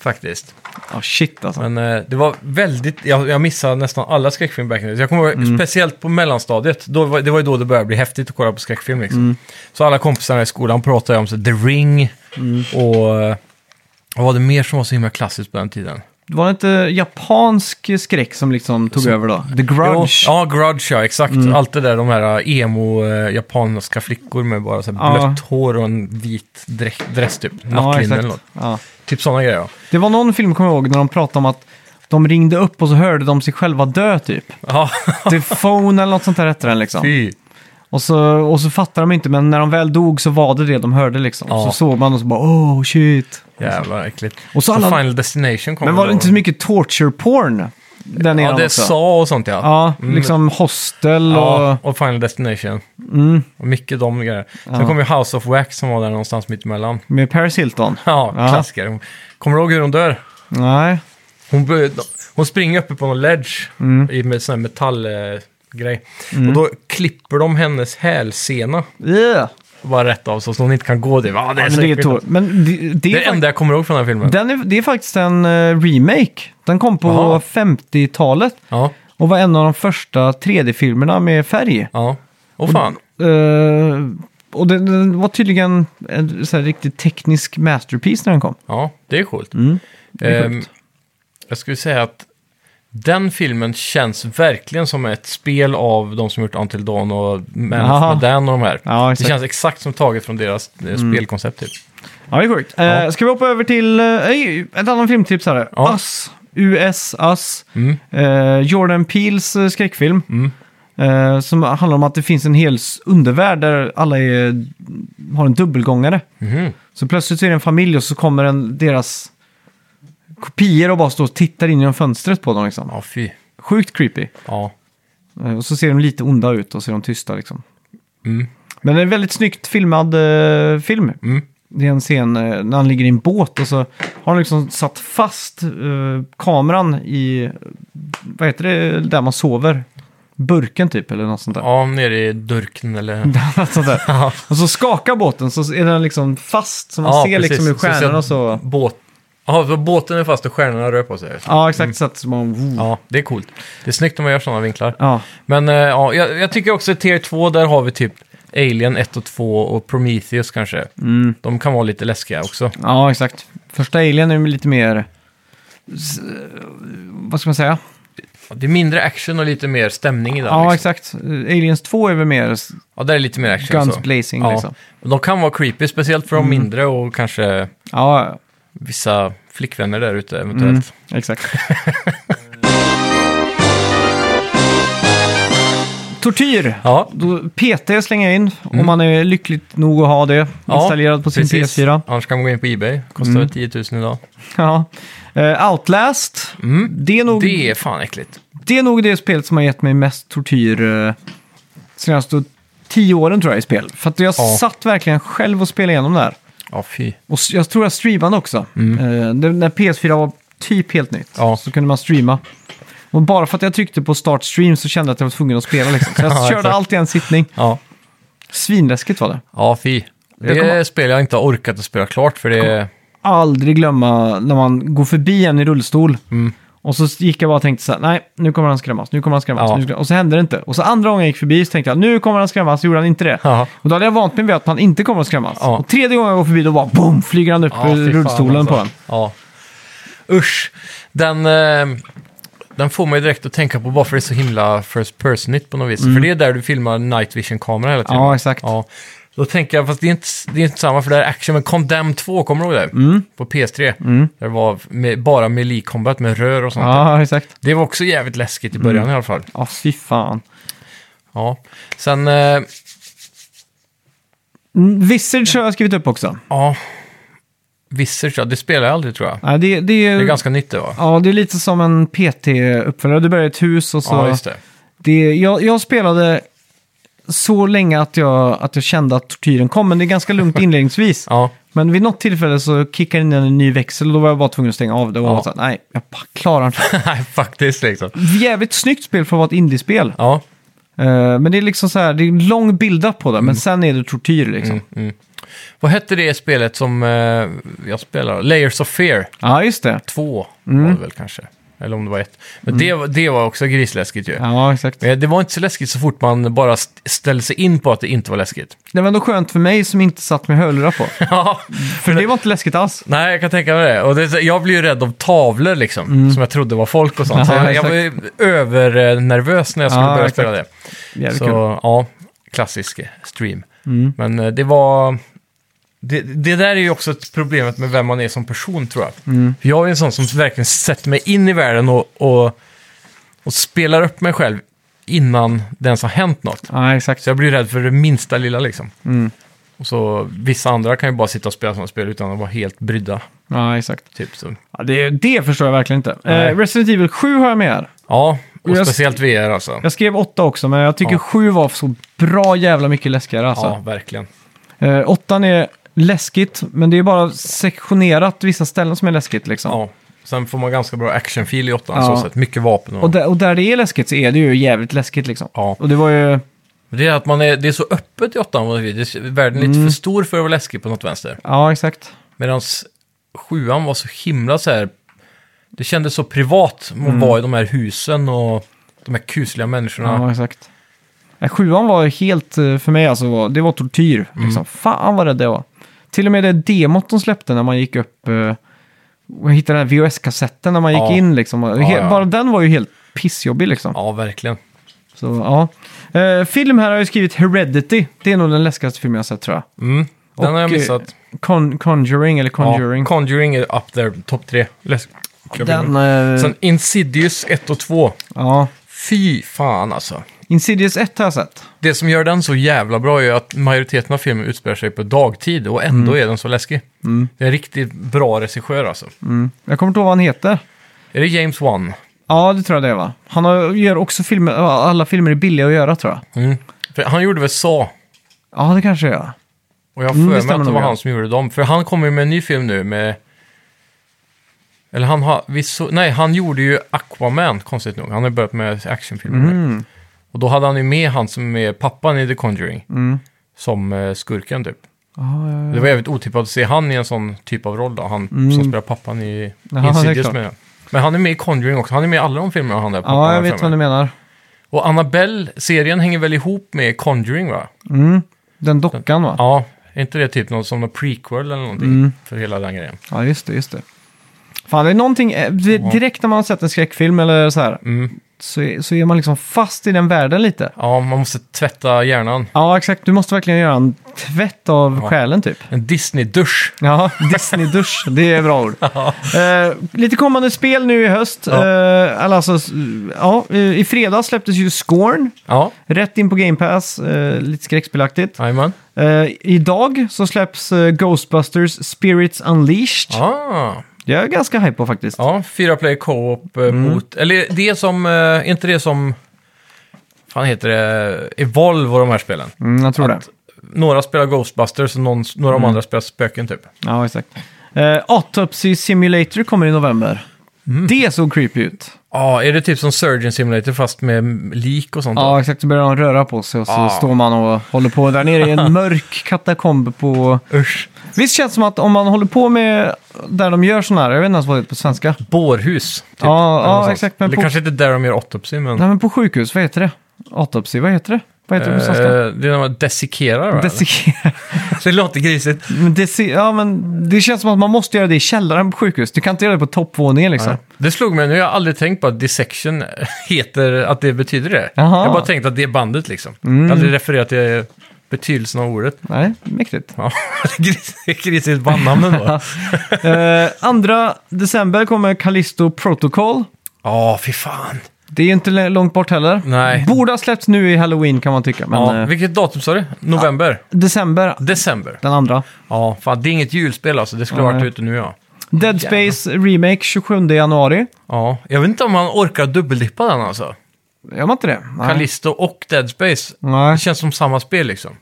B: Faktiskt.
A: ah shit alltså.
B: Men eh, det var väldigt, jag, jag missade nästan alla skräckfilmer back in the days. Jag kommer ihåg,
A: Mm.
B: speciellt på mellanstadiet, då var, det var ju då det började bli häftigt att kolla på skräckfilm liksom.
A: Mm.
B: Så alla kompisarna i skolan pratade om så, The Ring
A: Mm.
B: och eh, vad var det mer som var så himla klassiskt på den tiden?
A: Var det inte japansk skräck som liksom tog över då? The Grudge. Mm.
B: Jo, ja, Grudge ja, exakt. Allt det där, de här eh, emo-japanska flickor med bara så här,
A: Ja.
B: blött hår och en vit dräkt, dress typ.
A: ja,
B: Nattlinne eller
A: exakt.
B: något.
A: Ja.
B: Typ sådana grejer ja.
A: Det var någon film, kommer jag ihåg, när de pratade om att de ringde upp och så hörde de sig själva dö typ.
B: Ja,
A: The Phone eller något sånt där hette den liksom.
B: fy.
A: Och så, och så fattar de inte, men när de väl dog så var det det de hörde liksom.
B: Ja.
A: Så såg man och så bara oh shit.
B: Jävlar äckligt.
A: Och så alla-
B: Final Destination kom
A: Men
B: väl
A: var det
B: då.
A: inte så mycket torture porn? den
B: Ja,
A: eran
B: det är
A: också.
B: Sa och sånt ja.
A: Ja, liksom Hostel
B: Ja,
A: och... Mm.
B: och Final Destination. Och mycket de grejerna. Sen kom ju House of Wax som var där någonstans mitt emellan.
A: Med Paris Hilton.
B: Ja,
A: Ja.
B: klassiker. Kommer du ihåg hur hon dör?
A: Nej.
B: Hon, bör- hon springer uppe på en ledge
A: Mm.
B: i med sån här metallgrej. Och då klipper de hennes hälsena
A: Yeah.
B: bara rätt av så att hon inte kan gå. Det, ja, det, är
A: Alltså,
B: så
A: det är
B: äckligt.
A: tår. Men det, det
B: det
A: är
B: är det enda jag kommer ihåg från den här filmen.
A: Den är, det är faktiskt en eh, remake. Den kom på
B: Jaha.
A: 50-talet
B: Ja,
A: och var en av de första 3D-filmerna med färg.
B: ja. Och fan.
A: Eh, och den, den var tydligen en så här riktigt teknisk masterpiece när den kom.
B: Ja, det är coolt.
A: Mm, är
B: Ehm,
A: sjukt.
B: jag skulle säga att den filmen känns verkligen som ett spel av de som gjort Until Dawn och Man of
A: Aha.
B: Medan och de här.
A: Ja,
B: det
A: exakt. Mm.
B: känns exakt som taget från deras eh, spelkoncept. Typ.
A: Ja, det är sjukt. Eh,
B: Ja.
A: Ska vi hoppa över till eh, ett annat filmtips här?
B: Ja.
A: Us. US, Us.
B: Mm.
A: Eh, Jordan Peels eh, skräckfilm. Eh, som handlar om att det finns en hel s- undervärld där alla är, har en dubbelgångare.
B: Mhm.
A: Så plötsligt så är det en familj och så kommer en, deras kopior och bara står och tittar in genom fönstret på dem. Liksom.
B: Ja, fy.
A: Sjukt creepy.
B: Ja.
A: Eh, och så ser de lite onda ut och så är de tysta. Liksom.
B: Mm.
A: Men det är en väldigt snyggt filmad eh, film.
B: Mm.
A: Det är en scen eh, när han ligger i en båt och så har han liksom satt fast eh, kameran i, vad heter det, där man sover? Burken typ eller något sånt där.
B: ja, nere i durken eller...
A: Något sånt där.
B: Ja.
A: Och så skakar båten så är den liksom fast så man
B: Ja,
A: ser liksom
B: precis.
A: hur
B: Så ser
A: stjärnorna och så.
B: Båt... Ja, så båten är fast och stjärnorna rör på sig.
A: Ja, exakt. Så att man... Ja.
B: Mm. Ja, det är coolt. Det är snyggt om man gör sådana vinklar.
A: ja.
B: Men eh, ja, jag, jag tycker också att Tier 2, där har vi typ Alien 1 och 2 och Prometheus kanske.
A: Mm.
B: De kan vara lite läskiga också.
A: Ja, exakt. Första Alien är ju lite mer... s- Vad ska man säga?
B: Det är mindre action och lite mer stämning i den.
A: Ja,
B: liksom.
A: exakt. Eh, Aliens 2 är väl mer s-
B: ja där är lite mer action.
A: guns
B: så.
A: blazing
B: Ja.
A: liksom. Mm.
B: Och De kan vara creepy, speciellt för de mindre och kanske
A: Ja,
B: vissa flickvänner där ute eventuellt.
A: exakt. Tortyr.
B: Ja,
A: Då PT slänger jag in, om man är lyckligt nog att ha det
B: Mm. Ja,
A: installerat på sin
B: precis.
A: PS4.
B: Annars kan man gå in på Ebay. Kostar
A: Mm.
B: väl 10 000 idag.
A: Ja. Eh, Outlast, det, är nog, det...
B: Mm. Det är fan äckligt.
A: är nog det spelet som har gett mig mest tortyr uh, senaste tio åren tror jag i spel. För att jag
B: Ja.
A: satt verkligen själv och spelade igenom det här.
B: Ja, fy.
A: Och s- jag tror jag streamade också. Eh, det, när PS4 var typ helt nytt
B: Mm. Ja.
A: så kunde man streama. Och bara för att jag tryckte på start stream så kände jag att jag var tvungen att spela. Liksom. Så jag
B: Ja,
A: körde
B: exakt.
A: allt i en sittning.
B: Ja,
A: Svinläskigt var det.
B: ja fy. Det
A: Jag kommer-
B: är spel jag inte har orkat att spela klart för det är...
A: aldrig glömma när man går förbi en i rullstol.
B: Mm.
A: Och så gick jag bara och tänkte så här, nej, nu kommer han skrämmas, nu kommer han skrämmas.
B: Ja.
A: Nu skrämmas. Och så hände det inte. Och så andra gången jag gick förbi så tänkte jag, nu kommer han skrämmas, så gjorde han inte det.
B: Ja.
A: Och då hade jag vant mig vid att han inte kommer att skrämmas.
B: Ja.
A: Och tredje gången jag går förbi då bara, boom, flyger han upp
B: Ja, fy
A: ur
B: fan, alltså.
A: rullstolen på en.
B: Ja. Usch. Den, eh, den får mig direkt att tänka på varför det är så himla first personigt på något vis. För det är där du filmar night vision-kamera hela tiden.
A: Mm. Ja, exakt.
B: Ja. Då tänker jag, fast det är inte, det är inte samma för det här är action, men Condemn 2, kommer du ihåg det?
A: Mm.
B: På PS3. Där det var med, bara melee combat med rör och sånt. där.
A: Ja, Mm. exakt.
B: Det var också jävligt läskigt i början i alla fall.
A: Ja, fy fan.
B: Ja. Sen, eh,
A: Mm, Visage har jag skrivit upp också.
B: ja. Visage, ja, det spelar jag aldrig tror jag.
A: Ja, det, det, är,
B: Det är ganska nytt det va?
A: ja, det är lite som en PT-uppföljare. Du börjar i ett hus och så...
B: Ja, just det.
A: Det, jag, jag spelade så länge att jag, att jag kände att tortyren kom, men det är ganska lugnt inledningsvis.
B: Ja.
A: Men vid något tillfälle så kickade in en ny växel och då var jag bara tvungen att stänga av det. Och
B: Ja.
A: ja. så här, nej, jag pa- klarar inte.
B: Nej, faktiskt liksom.
A: Jävligt snyggt spel för att vara ett indiespel.
B: Ja.
A: Eh, men det är liksom så här, det är en lång build-up på det,
B: Mm.
A: men sen är det tortyr liksom.
B: Vad hette det spelet som eh, jag spelar? Layers of Fear
A: Ja, just det.
B: 2
A: Mm.
B: var det väl kanske. Eller om det var ett. Men det, var- det var också grisläskigt ju.
A: Ja, exakt.
B: Men det var inte så läskigt så fort man bara st- ställde sig in på att det inte var läskigt.
A: Det var ändå skönt för mig som inte satt med hörlurar på.
B: Ja,
A: För det var inte läskigt alls.
B: Nej, jag kan tänka mig det. Och det, är så- jag blir ju rädd av tavlor liksom, som jag trodde var folk och sånt. Så
A: Mm. Ja,
B: jag, jag var ju övernervös när jag skulle
A: Ja,
B: börja
A: exakt.
B: spela det.
A: Jävligt
B: Så
A: kul.
B: ja, klassisk stream. Men eh, det var... Det, det där är ju också ett problemet med vem man är som person tror jag. För jag är en sån som verkligen sätter mig in i världen och, och, och spelar upp mig själv innan det ens har hänt något.
A: Ja, exakt.
B: Så jag blir rädd för det minsta lilla liksom. Och så vissa andra kan ju bara sitta och spela sådana spel utan att vara helt brydda.
A: Ja, exakt.
B: Typ så.
A: Ja, det, det förstår jag verkligen inte.
B: Nej.
A: Eh, Resident Evil 7 har jag med här.
B: Ja, och
A: Jag-
B: speciellt VR alltså.
A: Jag skrev åtta också, men jag tycker
B: Ja.
A: sju var så bra jävla mycket läskigare alltså.
B: Ja, verkligen.
A: Eh, åttan är läskigt, men det är bara sektionerat vissa ställen som är läskigt liksom.
B: Ja. Sen får man ganska bra actionfeel i åttan
A: Ja.
B: så sett. Mycket vapen och...
A: Och, där, och där det är läskigt så är det ju jävligt läskigt liksom.
B: Ja.
A: Och det var ju...
B: Det är att man är, det är så öppet i åttan. och det är- Världen är lite
A: Mm.
B: för stor för att vara läskig på något vänster.
A: Ja, exakt.
B: Medan sjuan var så himla så här... Det kändes så privat att
A: Mm.
B: vara i de här husen och de här kusliga människorna.
A: Ja, exakt. Nej, Sjuan var helt, eh, för mig alltså, var- det var tortyr.
B: Mm.
A: Liksom. Fan vad rädd jag var. Till och med det demot de släppte när man gick upp eh, och hittade den här VHS-kassetten när man gick
B: Ja.
A: in liksom. Och he-
B: Ja, ja.
A: Bara den var ju helt pissjobbig liksom.
B: Ja, verkligen.
A: Så, ja. Eh, film här har jag skrivit Heredity. Det är nog den läskigaste filmen jag har sett tror jag.
B: Mm. Den
A: Och,
B: har jag
A: eh,
B: missat.
A: Con- Conjuring eller Conjuring.
B: Ja, Conjuring är up there, topp tre. Läskiga
A: den,
B: filmer.
A: eh,
B: Sen Insidious 1 och 2.
A: ja.
B: Fy fan alltså.
A: Insidious 1 har jag sett.
B: Det som gör den så jävla bra är att majoriteten av filmen utspelar sig på dagtid och ändå
A: Mm.
B: är den så läskig. Det är en riktigt bra regissör alltså.
A: Jag kommer inte ihåg vad han heter.
B: Är det James Wan?
A: Ja, det tror jag det är va. Han har, gör också filmer, alla filmer är billiga att göra tror jag.
B: Mm. För han gjorde väl Saw?
A: Ja, det kanske jag gör.
B: Och jag har
A: Mm, det
B: för mig
A: stämmer
B: att det
A: nog,
B: var
A: ja.
B: han som gjorde dem. För han kommer ju med en ny film nu med... Eller han har... Vi så, nej, han gjorde ju Aquaman, konstigt nog. Han har börjat med actionfilmer nu.
A: Mm.
B: Och då hade han ju med han som är pappan i The Conjuring.
A: Mm.
B: Som eh, skurken typ.
A: Ja, ja, ja.
B: Det var jävligt otippat att se han i en sån typ av roll då. Han som spelar pappan i
A: Mm. Ja, det är
B: Insidious
A: klart.
B: med. Men han är med i Conjuring också. Han är med i alla de filmerna han där pappan
A: ja
B: har
A: jag
B: för
A: vet
B: mig.
A: vad du menar.
B: Och Annabelle, serien hänger väl ihop med Conjuring va?
A: Mm. Den dockan va?
B: Ja, är inte det typ något som en prequel eller någonting?
A: Mm.
B: För hela den grejen.
A: Ja, just det, just det. Fan, det är någonting, eh, di- direkt när man har sett en skräckfilm eller så här,
B: Mm.
A: så, är- så är man liksom fast i den världen lite.
B: Ja, man måste tvätta hjärnan.
A: Ja, exakt. Du måste verkligen göra en tvätt av själen typ.
B: En Disney-dusch.
A: Ja, Disney-dusch, det är bra ord. Eh, lite kommande spel nu i höst.
B: Ja.
A: Eh, eller alltså, s- ja, eh, I fredags släpptes ju Scorn,
B: Ja,
A: rätt in på Game Pass, eh, lite skräckspelaktigt.
B: jajamän.
A: Eh, idag så släpps eh, Ghostbusters Spirits Unleashed.
B: Ah,
A: Det är jag ganska hype på faktiskt.
B: ja, fyra player co-op eh,
A: Mm.
B: mot... Eller det är som... eh, Är inte det som... fan heter det? Evolve och de här spelen.
A: Mm, jag tror det.
B: Några spelar Ghostbusters och någon,
A: Mm.
B: några av de andra spelar Spöken typ.
A: Ja, exakt. Eh, Autopsy Simulator kommer i november.
B: Mm.
A: Det såg creepy ut.
B: Ja, är det typ som Surgeon Simulator fast med lik och sånt?
A: Ja, exakt. Så börjar de röra på sig och så
B: Ja.
A: står man och håller på där nere i en mörk katakomb på...
B: då? Usch.
A: Visst känns det som att om man håller på med där de gör sådana här, jag vet inte ens vad det heter på svenska.
B: Bårhus. Typ,
A: Ja,
B: eller
A: ja,
B: något sånt.
A: exakt, men
B: Eller
A: på-
B: kanske inte där de gör autopsy, men...
A: Nej, men på sjukhus, vad heter det? Autopsy, vad heter det? Vad heter det på
B: Eh,
A: svenska?
B: det är när man desikerar, va?
A: Desik-
B: Det låter grisigt.
A: Men det, ser- ja, men det känns som att man måste göra det i källaren på sjukhus. Du kan inte göra det på toppvåningen liksom.
B: Nej. Det slog mig nu, jag har aldrig tänkt på att dissection heter, att det betyder det.
A: Jaha. Mm.
B: Jag har bara tänkt att det är bandet liksom. Jag har aldrig refererat till betydelsen av ordet.
A: Nej, mäktigt.
B: Ja, det är gris- det är grisigt bandnamn ändå.
A: Eh, andra december kommer Callisto Protocol.
B: Ja, fy fan.
A: Det är inte l- långt bort heller.
B: Nej.
A: Borde ha släppts nu i Halloween kan man tycka, men
B: ja,
A: eh,
B: vilket datum sa du? November?
A: december,
B: December?
A: den andra.
B: Ja, fan det är inget julspel alltså. Det skulle ha varit
A: Nej.
B: ute nu ja.
A: Dead Space Remake 27 januari.
B: Ja, jag vet inte om man orkar dubbeldippa den alltså.
A: Gör man inte det? Nej.
B: Callisto och Dead Space.
A: Nej.
B: Det känns som samma spel liksom.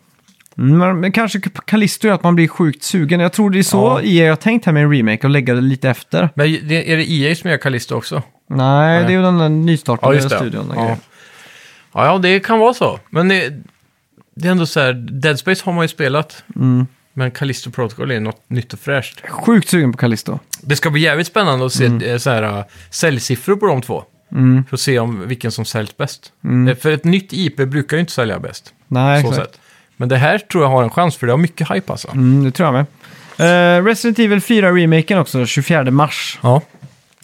A: Mm, Men, men kanske K- Callisto gör att man blir sjukt sugen. Jag tror det är så
B: Ja.
A: EA har tänkt här med en remake och lägga det lite efter.
B: Men det- är det EA som gör Callisto också?
A: Nej, det är ju den där
B: Ja,
A: nystartade
B: just det.
A: studion. och
B: ja.
A: grejer.
B: Ja, ja, det kan vara så. Men det, det är ändå så här, Dead Space har man ju spelat.
A: Mm.
B: Men Callisto Protocol är något nytt och fräscht.
A: Sjukt sugen på Callisto.
B: Det ska bli jävligt spännande att se eh, så här, eh, säljsiffror på de två.
A: Mm.
B: För att se om vilken som säljs bäst. Eh, För ett nytt IP brukar ju inte sälja bäst.
A: Nej,
B: så
A: exakt.
B: sätt. Men det här tror jag har en chans, för det har mycket hype alltså.
A: Mm, det tror jag med. Eh, Resident Evil 4-remaken också, 24 mars.
B: Ja.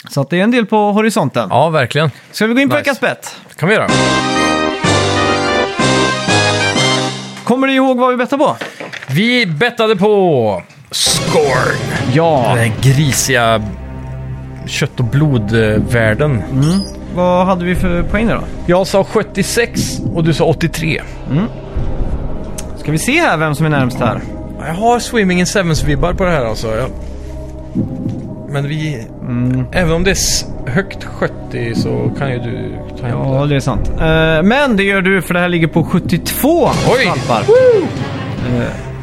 A: Så att det är en del på horisonten.
B: ja, verkligen.
A: Ska vi gå in på
B: Nice.
A: veckans bett?
B: Det kan vi göra.
A: Kommer du ihåg vad vi bettade på?
B: Vi bettade på Scorn.
A: Ja.
B: Den här grisiga kött och blodvärlden.
A: Vad hade vi för poäng då?
B: Jag sa 76 och du sa 83.
A: Ska vi se här vem som är närmst här?
B: Jag har Swimming in Sevens-vibbar på det här alltså. Jag... Men vi...
A: Mm.
B: Även om det är s- högt 70 så kan ju du ta hem
A: Ja,
B: det.
A: det är sant. Eh, men det gör du för det här ligger på 72
B: Oj!
A: valpar.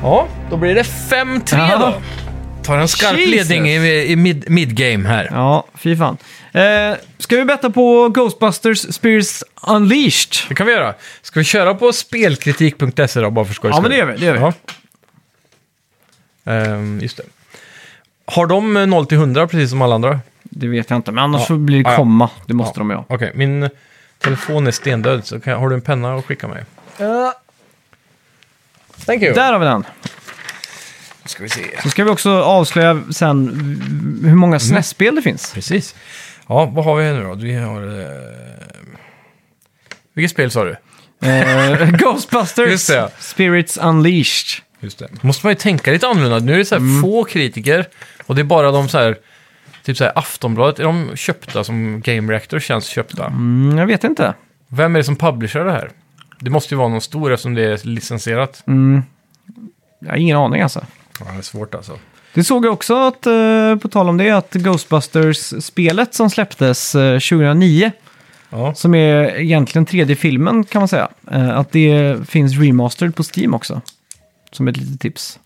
B: Ja, då blir det 5-3
A: Ja.
B: då. Tar en skarp
A: Jesus.
B: ledning i, i mid, mid-game här.
A: Ja, fy fan. Eh, ska vi betta på Ghostbusters Spirits Unleashed?
B: Det kan vi göra. Ska vi köra på spelkritik.se E då, bara för skojs
A: Ja, men det gör vi, det gör vi.
B: Ja. Ehm, just det. Har de eh, 0 till 100 precis som alla andra?
A: Det vet jag inte, men annars
B: Ja.
A: så blir
B: Ja,
A: det
B: ja.
A: komma. Det måste de ju ha.
B: Okej, min telefon är stendöd, så kan jag, har du en penna att skicka mig? Thank you.
A: Där har vi den.
B: ska vi se.
A: Då ska vi också avslöja sen v- hur
B: Mm.
A: många SNES-spel det finns.
B: Precis. Ja, vad har vi här nu då? Vi har... eh, Vilket spel sa du?
A: Eh, Ghostbusters
B: Just det.
A: Spirits Unleashed.
B: Just det. Måste man ju tänka lite annorlunda. Nu är det så här
A: Mm.
B: få kritiker och det är bara de så här... Typ så här Aftonbladet, är de köpta som Game Reactor känns köpta?
A: Mm, jag vet inte.
B: Vem är det som publicerar det här? Det måste ju vara någon stor eftersom det är licensierat.
A: Mm. Jag har ingen aning alltså.
B: Ja, det är svårt alltså.
A: Det såg jag också, att, eh, på tal om det, att Ghostbusters-spelet som släpptes eh, 2009,
B: Ja.
A: som är egentligen tredje filmen kan man säga, eh, att det finns remastered på Steam också. Som ett litet tips.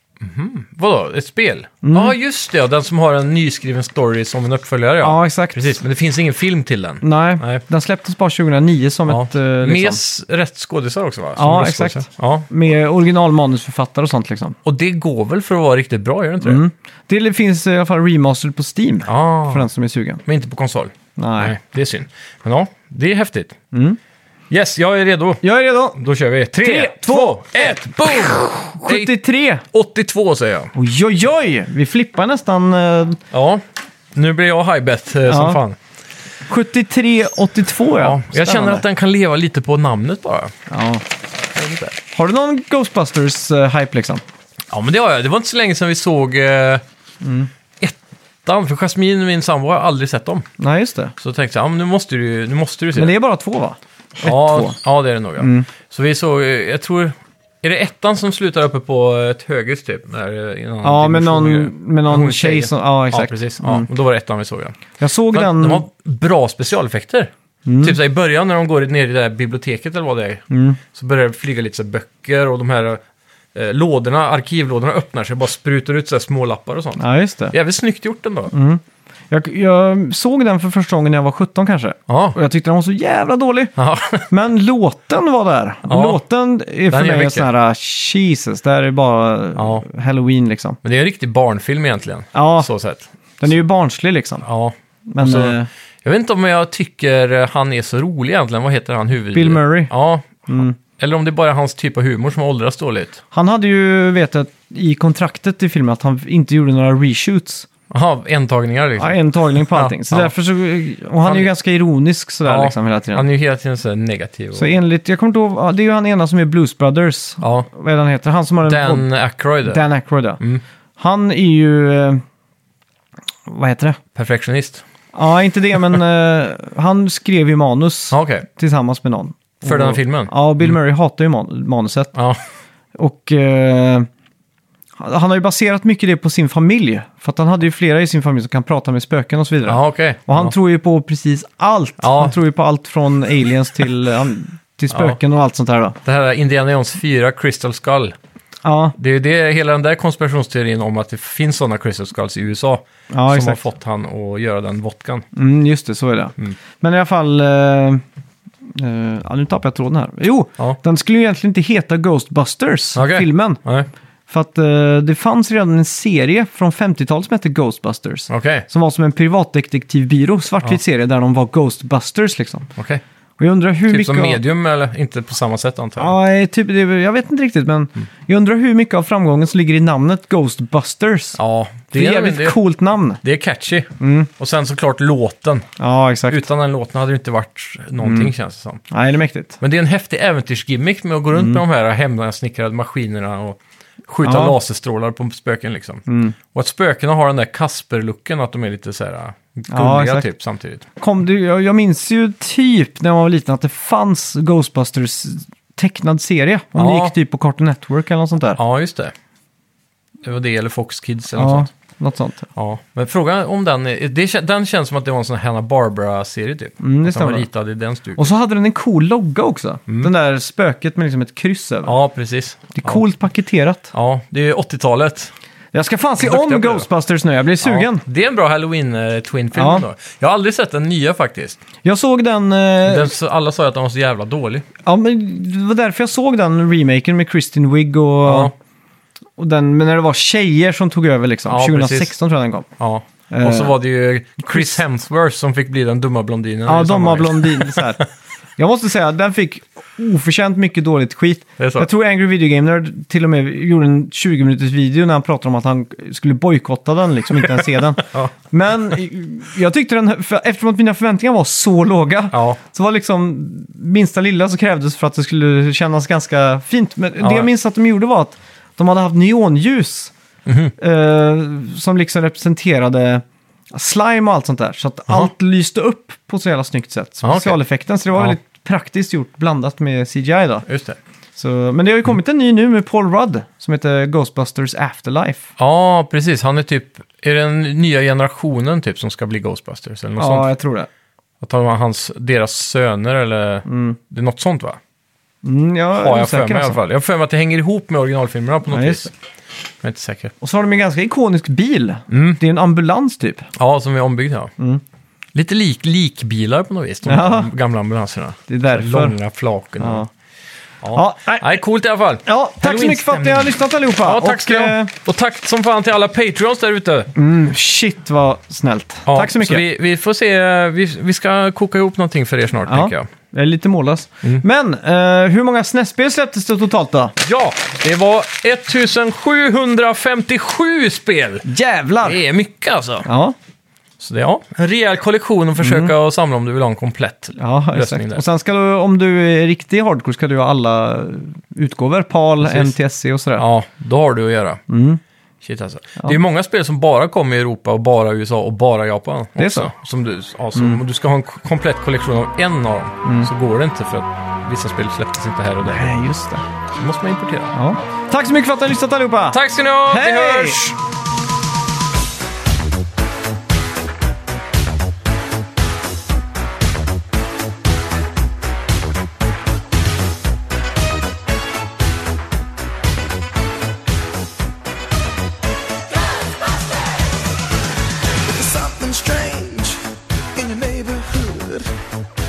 B: Vadå, ett spel?
A: Mm.
B: Ja, just det. ja. Den som har en nyskriven story som en uppföljare, ja.
A: Ja, exakt.
B: Precis, men det finns ingen film till den.
A: Nej,
B: Nej.
A: den släpptes bara 2009 som
B: Ja.
A: ett... eh,
B: Med
A: Liksom,
B: s- rätt skådisar också, va?
A: Ja,
B: röstskådisar.
A: exakt.
B: Ja.
A: med original manusförfattare och sånt liksom.
B: Och det går väl för att vara riktigt bra, gör det inte det?
A: Mm. Det finns i alla fall remastered på Steam,
B: Ja,
A: för den som är sugen.
B: men inte på konsol.
A: Nej.
B: Nej, det är synd. Men ja, det är häftigt. Yes, jag är redo.
A: Jag är redo!
B: Då kör vi. Tre,
A: Tre,
B: två, ett, boom!
A: 73!
B: 82 säger jag.
A: Oj, oj, oj! Vi flippar nästan eh,
B: Ja, nu blir jag highbet eh, som
A: Ja.
B: fan.
A: 73-82 ja.
B: Ja, jag känner
A: Spännande.
B: att den kan leva lite på namnet bara.
A: Ja. Har du någon Ghostbusters-hype liksom?
B: Ja, men det har jag. Det var inte så länge sedan vi såg eh,
A: Mm.
B: ettan, för Jasmine, min sambo, har aldrig sett dem.
A: Nej, just det.
B: Så tänkte jag, ja, men nu måste du, ju- nu måste du se
A: Men det är bara två va? Ett,
B: ja,
A: två. Mm.
B: ja, det är det nog. Ja. Så vi såg, eh, jag tror, är det ettan som slutar uppe på ett höghus typ? Där, eh, i någon
A: Ja, med
B: dimension?
A: någon, med någon
B: Hon
A: tjej
B: tjejen.
A: som... Ja,
B: Ja,
A: exakt. Mm.
B: precis. Ja, och då var det ettan vi såg, ja.
A: Jag såg
B: Men
A: den... Mm.
B: De har bra specialeffekter. Typ så här, i början när de går ner i det där biblioteket eller vad det är. Så börjar det flyga lite så här böcker och de här eh, lådorna, arkivlådorna öppnar sig och bara sprutar ut så här små lappar och sånt.
A: Ja, just det.
B: Jävligt snyggt gjort ändå.
A: Mm. Jag, jag såg den för första gången när jag var 17 kanske.
B: Ja.
A: Och jag tyckte den var så jävla dålig.
B: Ja.
A: Men låten var där.
B: Ja.
A: Låten är för
B: är
A: mig en
B: mycket.
A: sån här, ah, Jesus, det här är bara
B: Ja.
A: Halloween liksom.
B: Men det är en riktig barnfilm egentligen.
A: Ja,
B: Så sett.
A: den är ju barnslig liksom.
B: Ja.
A: Men
B: så-
A: eh,
B: Jag vet inte om jag tycker eh, han är så rolig egentligen. Vad heter han? Huvud...
A: Bill Murray. Mm.
B: Ja. Eller om det är bara hans typ av humor som åldras dåligt.
A: han hade ju vetat i kontraktet i filmen att han inte gjorde några reshoots.
B: Jaha, entagningar liksom.
A: Ja, en tagning på
B: Ja,
A: allting. Så
B: ja.
A: därför så, och han är ju ganska ironisk sådär
B: Ja,
A: liksom hela tiden.
B: Han är ju hela tiden så här negativ. Och...
A: Så enligt, jag kommer inte ihåg, ja, det är ju han ena som är Blues Brothers.
B: Ja.
A: Vad är det han heter? Han som har en podd-
B: Dan Mm. Aykroyd.
A: Dan Aykroyd ja. Han är ju, eh, vad heter det?
B: Perfektionist.
A: Ja, inte det, men eh, han skrev ju manus
B: Ja, okej.
A: tillsammans med någon.
B: För
A: Och-
B: den här filmen? Mm.
A: Ja, och Bill Murray hatar ju man- manuset.
B: Ja.
A: Och eh, han har ju baserat mycket det på sin familj. För att han hade ju flera i sin familj som kan prata med spöken och så vidare.
B: Ja, okej.
A: Och han
B: ja.
A: tror ju på precis allt.
B: Ja.
A: Han tror ju på allt från aliens till, eh, han- till spöken och allt sånt där. Då.
B: Det här är Indiana Jones 4, Crystal Skull.
A: Ja,
B: Det är ju det, hela den där konspirationsteorin om att det finns sådana Crystal Skulls i USA.
A: ja
B: som
A: exakt.
B: har fått han att göra den vodkan.
A: Mm, just det, så är det.
B: Mm.
A: Men i alla fall... Eh, eh, ja, nu tappade jag tråden här. Jo,
B: Ja.
A: den skulle ju egentligen inte heta Ghostbusters,
B: Okej.
A: filmen.
B: Nej,
A: För att eh, det fanns redan en serie från 50-talet som hette Ghostbusters.
B: Okej,
A: Som var som en privatdetektivbyrå, svartvit serie, där de var Ghostbusters liksom.
B: okej.
A: Och jag undrar hur
B: Typ
A: mycket...
B: som
A: av-
B: medium eller inte på samma sätt antar jag.
A: Ja, eh, typ, det, jag vet inte riktigt, men
B: Mm.
A: jag undrar hur mycket av framgången som ligger i namnet Ghostbusters.
B: Ja,
A: det är ett jävligt
B: det,
A: coolt namn.
B: det är catchy. Och sen såklart låten.
A: Ja, exakt. Mm.
B: Utan den låten hade det inte varit någonting känns det som.
A: Nej, det är mäktigt.
B: Men det är en häftig äventyrsgimmick med att gå runt med de här hemsnickrade maskinerna och skjuta
A: Mm. Ja. Mm.
B: laserstrålar på spöken liksom. Och att spökena har den där Kasper-looken, att de är lite så här äh,
A: Ja,
B: gulliga
A: exakt.
B: typ samtidigt.
A: kom det, jag, jag minns ju typ när man var liten att det fanns Ghostbusters tecknad serie. Om
B: Ja.
A: det gick typ på Cartoon Network eller något sånt där.
B: Ja, just det. Det var det, eller Fox Kids eller
A: Ja,
B: något sånt.
A: Något sånt.
B: Ja, men frågan om den, är, det, kä- den känns som att det var en sån Hanna Barbara-serie typ.
A: Mm, det
B: att den var
A: stämmer.
B: ritad i den studion.
A: Och så hade den en cool logga också. Den där spöket med liksom ett kryss över.
B: Mm. Ja, precis.
A: Det är coolt paketerat.
B: Ja, ja det är 80-talet.
A: Jag ska fan se
B: Duktiga på
A: om
B: det.
A: Ghostbusters nu, jag blir sugen.
B: Ja, det är en bra Halloween-twin-film
A: Ja.
B: då. Jag har aldrig sett den nya faktiskt.
A: Jag såg den, eh,
B: Den, så- alla sa ju att den var så jävla dålig.
A: ja men det var därför jag såg den remaken med Kristin Wiig och,
B: Ja,
A: och den, men när det var tjejer som tog över liksom.
B: Ja,
A: 2016
B: precis.
A: tror jag den kom.
B: ja.
A: Eh.
B: Och så var det ju Chris Hemsworth som fick bli den dumma blondinen.
A: Ja,
B: i
A: de har
B: sammanhanget.
A: blondin så här. Jag måste säga att den fick oförtjänt mycket dåligt skit.
B: Det är så.
A: Jag tror Angry Video Game Nerd till och med gjorde en 20 minuters video när han pratade om att han skulle bojkotta den, liksom inte ens se den.
B: Ja.
A: Men eh, jag tyckte den, för, eftersom att mina förväntningar var så låga,
B: Ja,
A: så var liksom minsta lilla så krävdes för att det skulle kännas ganska fint. Men
B: Ja.
A: det jag minns att de gjorde var att de hade haft neonljus
B: Mhm.
A: eh, som liksom representerade slime och allt sånt där. Så att
B: Jaha.
A: allt lyste upp på så jävla snyggt sätt.
B: Ja, okej.
A: Specialeffekten, så det var
B: Ja.
A: väldigt praktiskt gjort blandat med CGI då.
B: just det.
A: Så, men det
B: Mm.
A: har ju kommit en ny nu med Paul Rudd som heter Ghostbusters Afterlife.
B: Ja, precis. Han är typ... Är det den nya generationen typ som ska bli Ghostbusters eller något
A: Ja,
B: sånt?
A: jag tror det.
B: Att han var hans, deras söner eller... Det är något sånt va?
A: Mm, jag är
B: Har jag för
A: osäker
B: mig i alla
A: alltså.
B: fall. Jag har för mig att det hänger ihop med originalfilmerna på något
A: Ja, just
B: vis. Men jag är inte säker.
A: Och så har de en ganska ikonisk bil.
B: Mm.
A: Det är en ambulans typ.
B: Ja, som är ombyggda. ja. Lite lik, likbilar på något vis, de
A: Mm. Ja.
B: här gamla ambulanserna.
A: Det är därför.
B: Långa flaken.
A: Ja.
B: Ja.
A: Ja, nej.
B: Nej, coolt i alla fall.
A: Ja, tack så mycket för att ni har lyssnat allihopa.
B: Ja, tack ska
A: och,
B: du
A: eh,
B: ha. Och tack som fan till alla Patreons där ute.
A: mm, Shit vad snällt.
B: Ja,
A: tack så mycket.
B: vi, vi får se, vi, vi ska koka ihop någonting för er snart,
A: Ja,
B: tänker jag.
A: jag är lite mållös.
B: Mm.
A: Men eh, hur många SNES-spel släpptes det totalt då?
B: Ja, det var 1757 spel!
A: Jävlar!
B: Det är mycket alltså.
A: Ja,
B: Så det, ja, en rejäl kollektion att försöka och samla om du vill ha en komplett
A: Mm. ja
B: lösning
A: exakt.
B: där.
A: Och sen ska du, om du är riktig hardcore, ska du ha alla utgåvor. PAL,
B: Precis.
A: NTSC och sådär.
B: Ja, då har du att göra.
A: Mm.
B: Shit alltså. Det är många spel som bara kommer i Europa och bara USA och bara Japan.
A: Det är Mm.
B: också. Som du, alltså, Om du ska ha en k- komplett kollektion av en av dem så går det inte för att vissa spel släpptes inte här och där.
A: Nej, Eh, just det.
B: Då måste man importera.
A: Ja. Tack så mycket för att ni har lyssnat allihopa!
B: Tack ska ni ha!
A: Hej!
B: Vi hörs!
D: There's something strange in your neighborhood.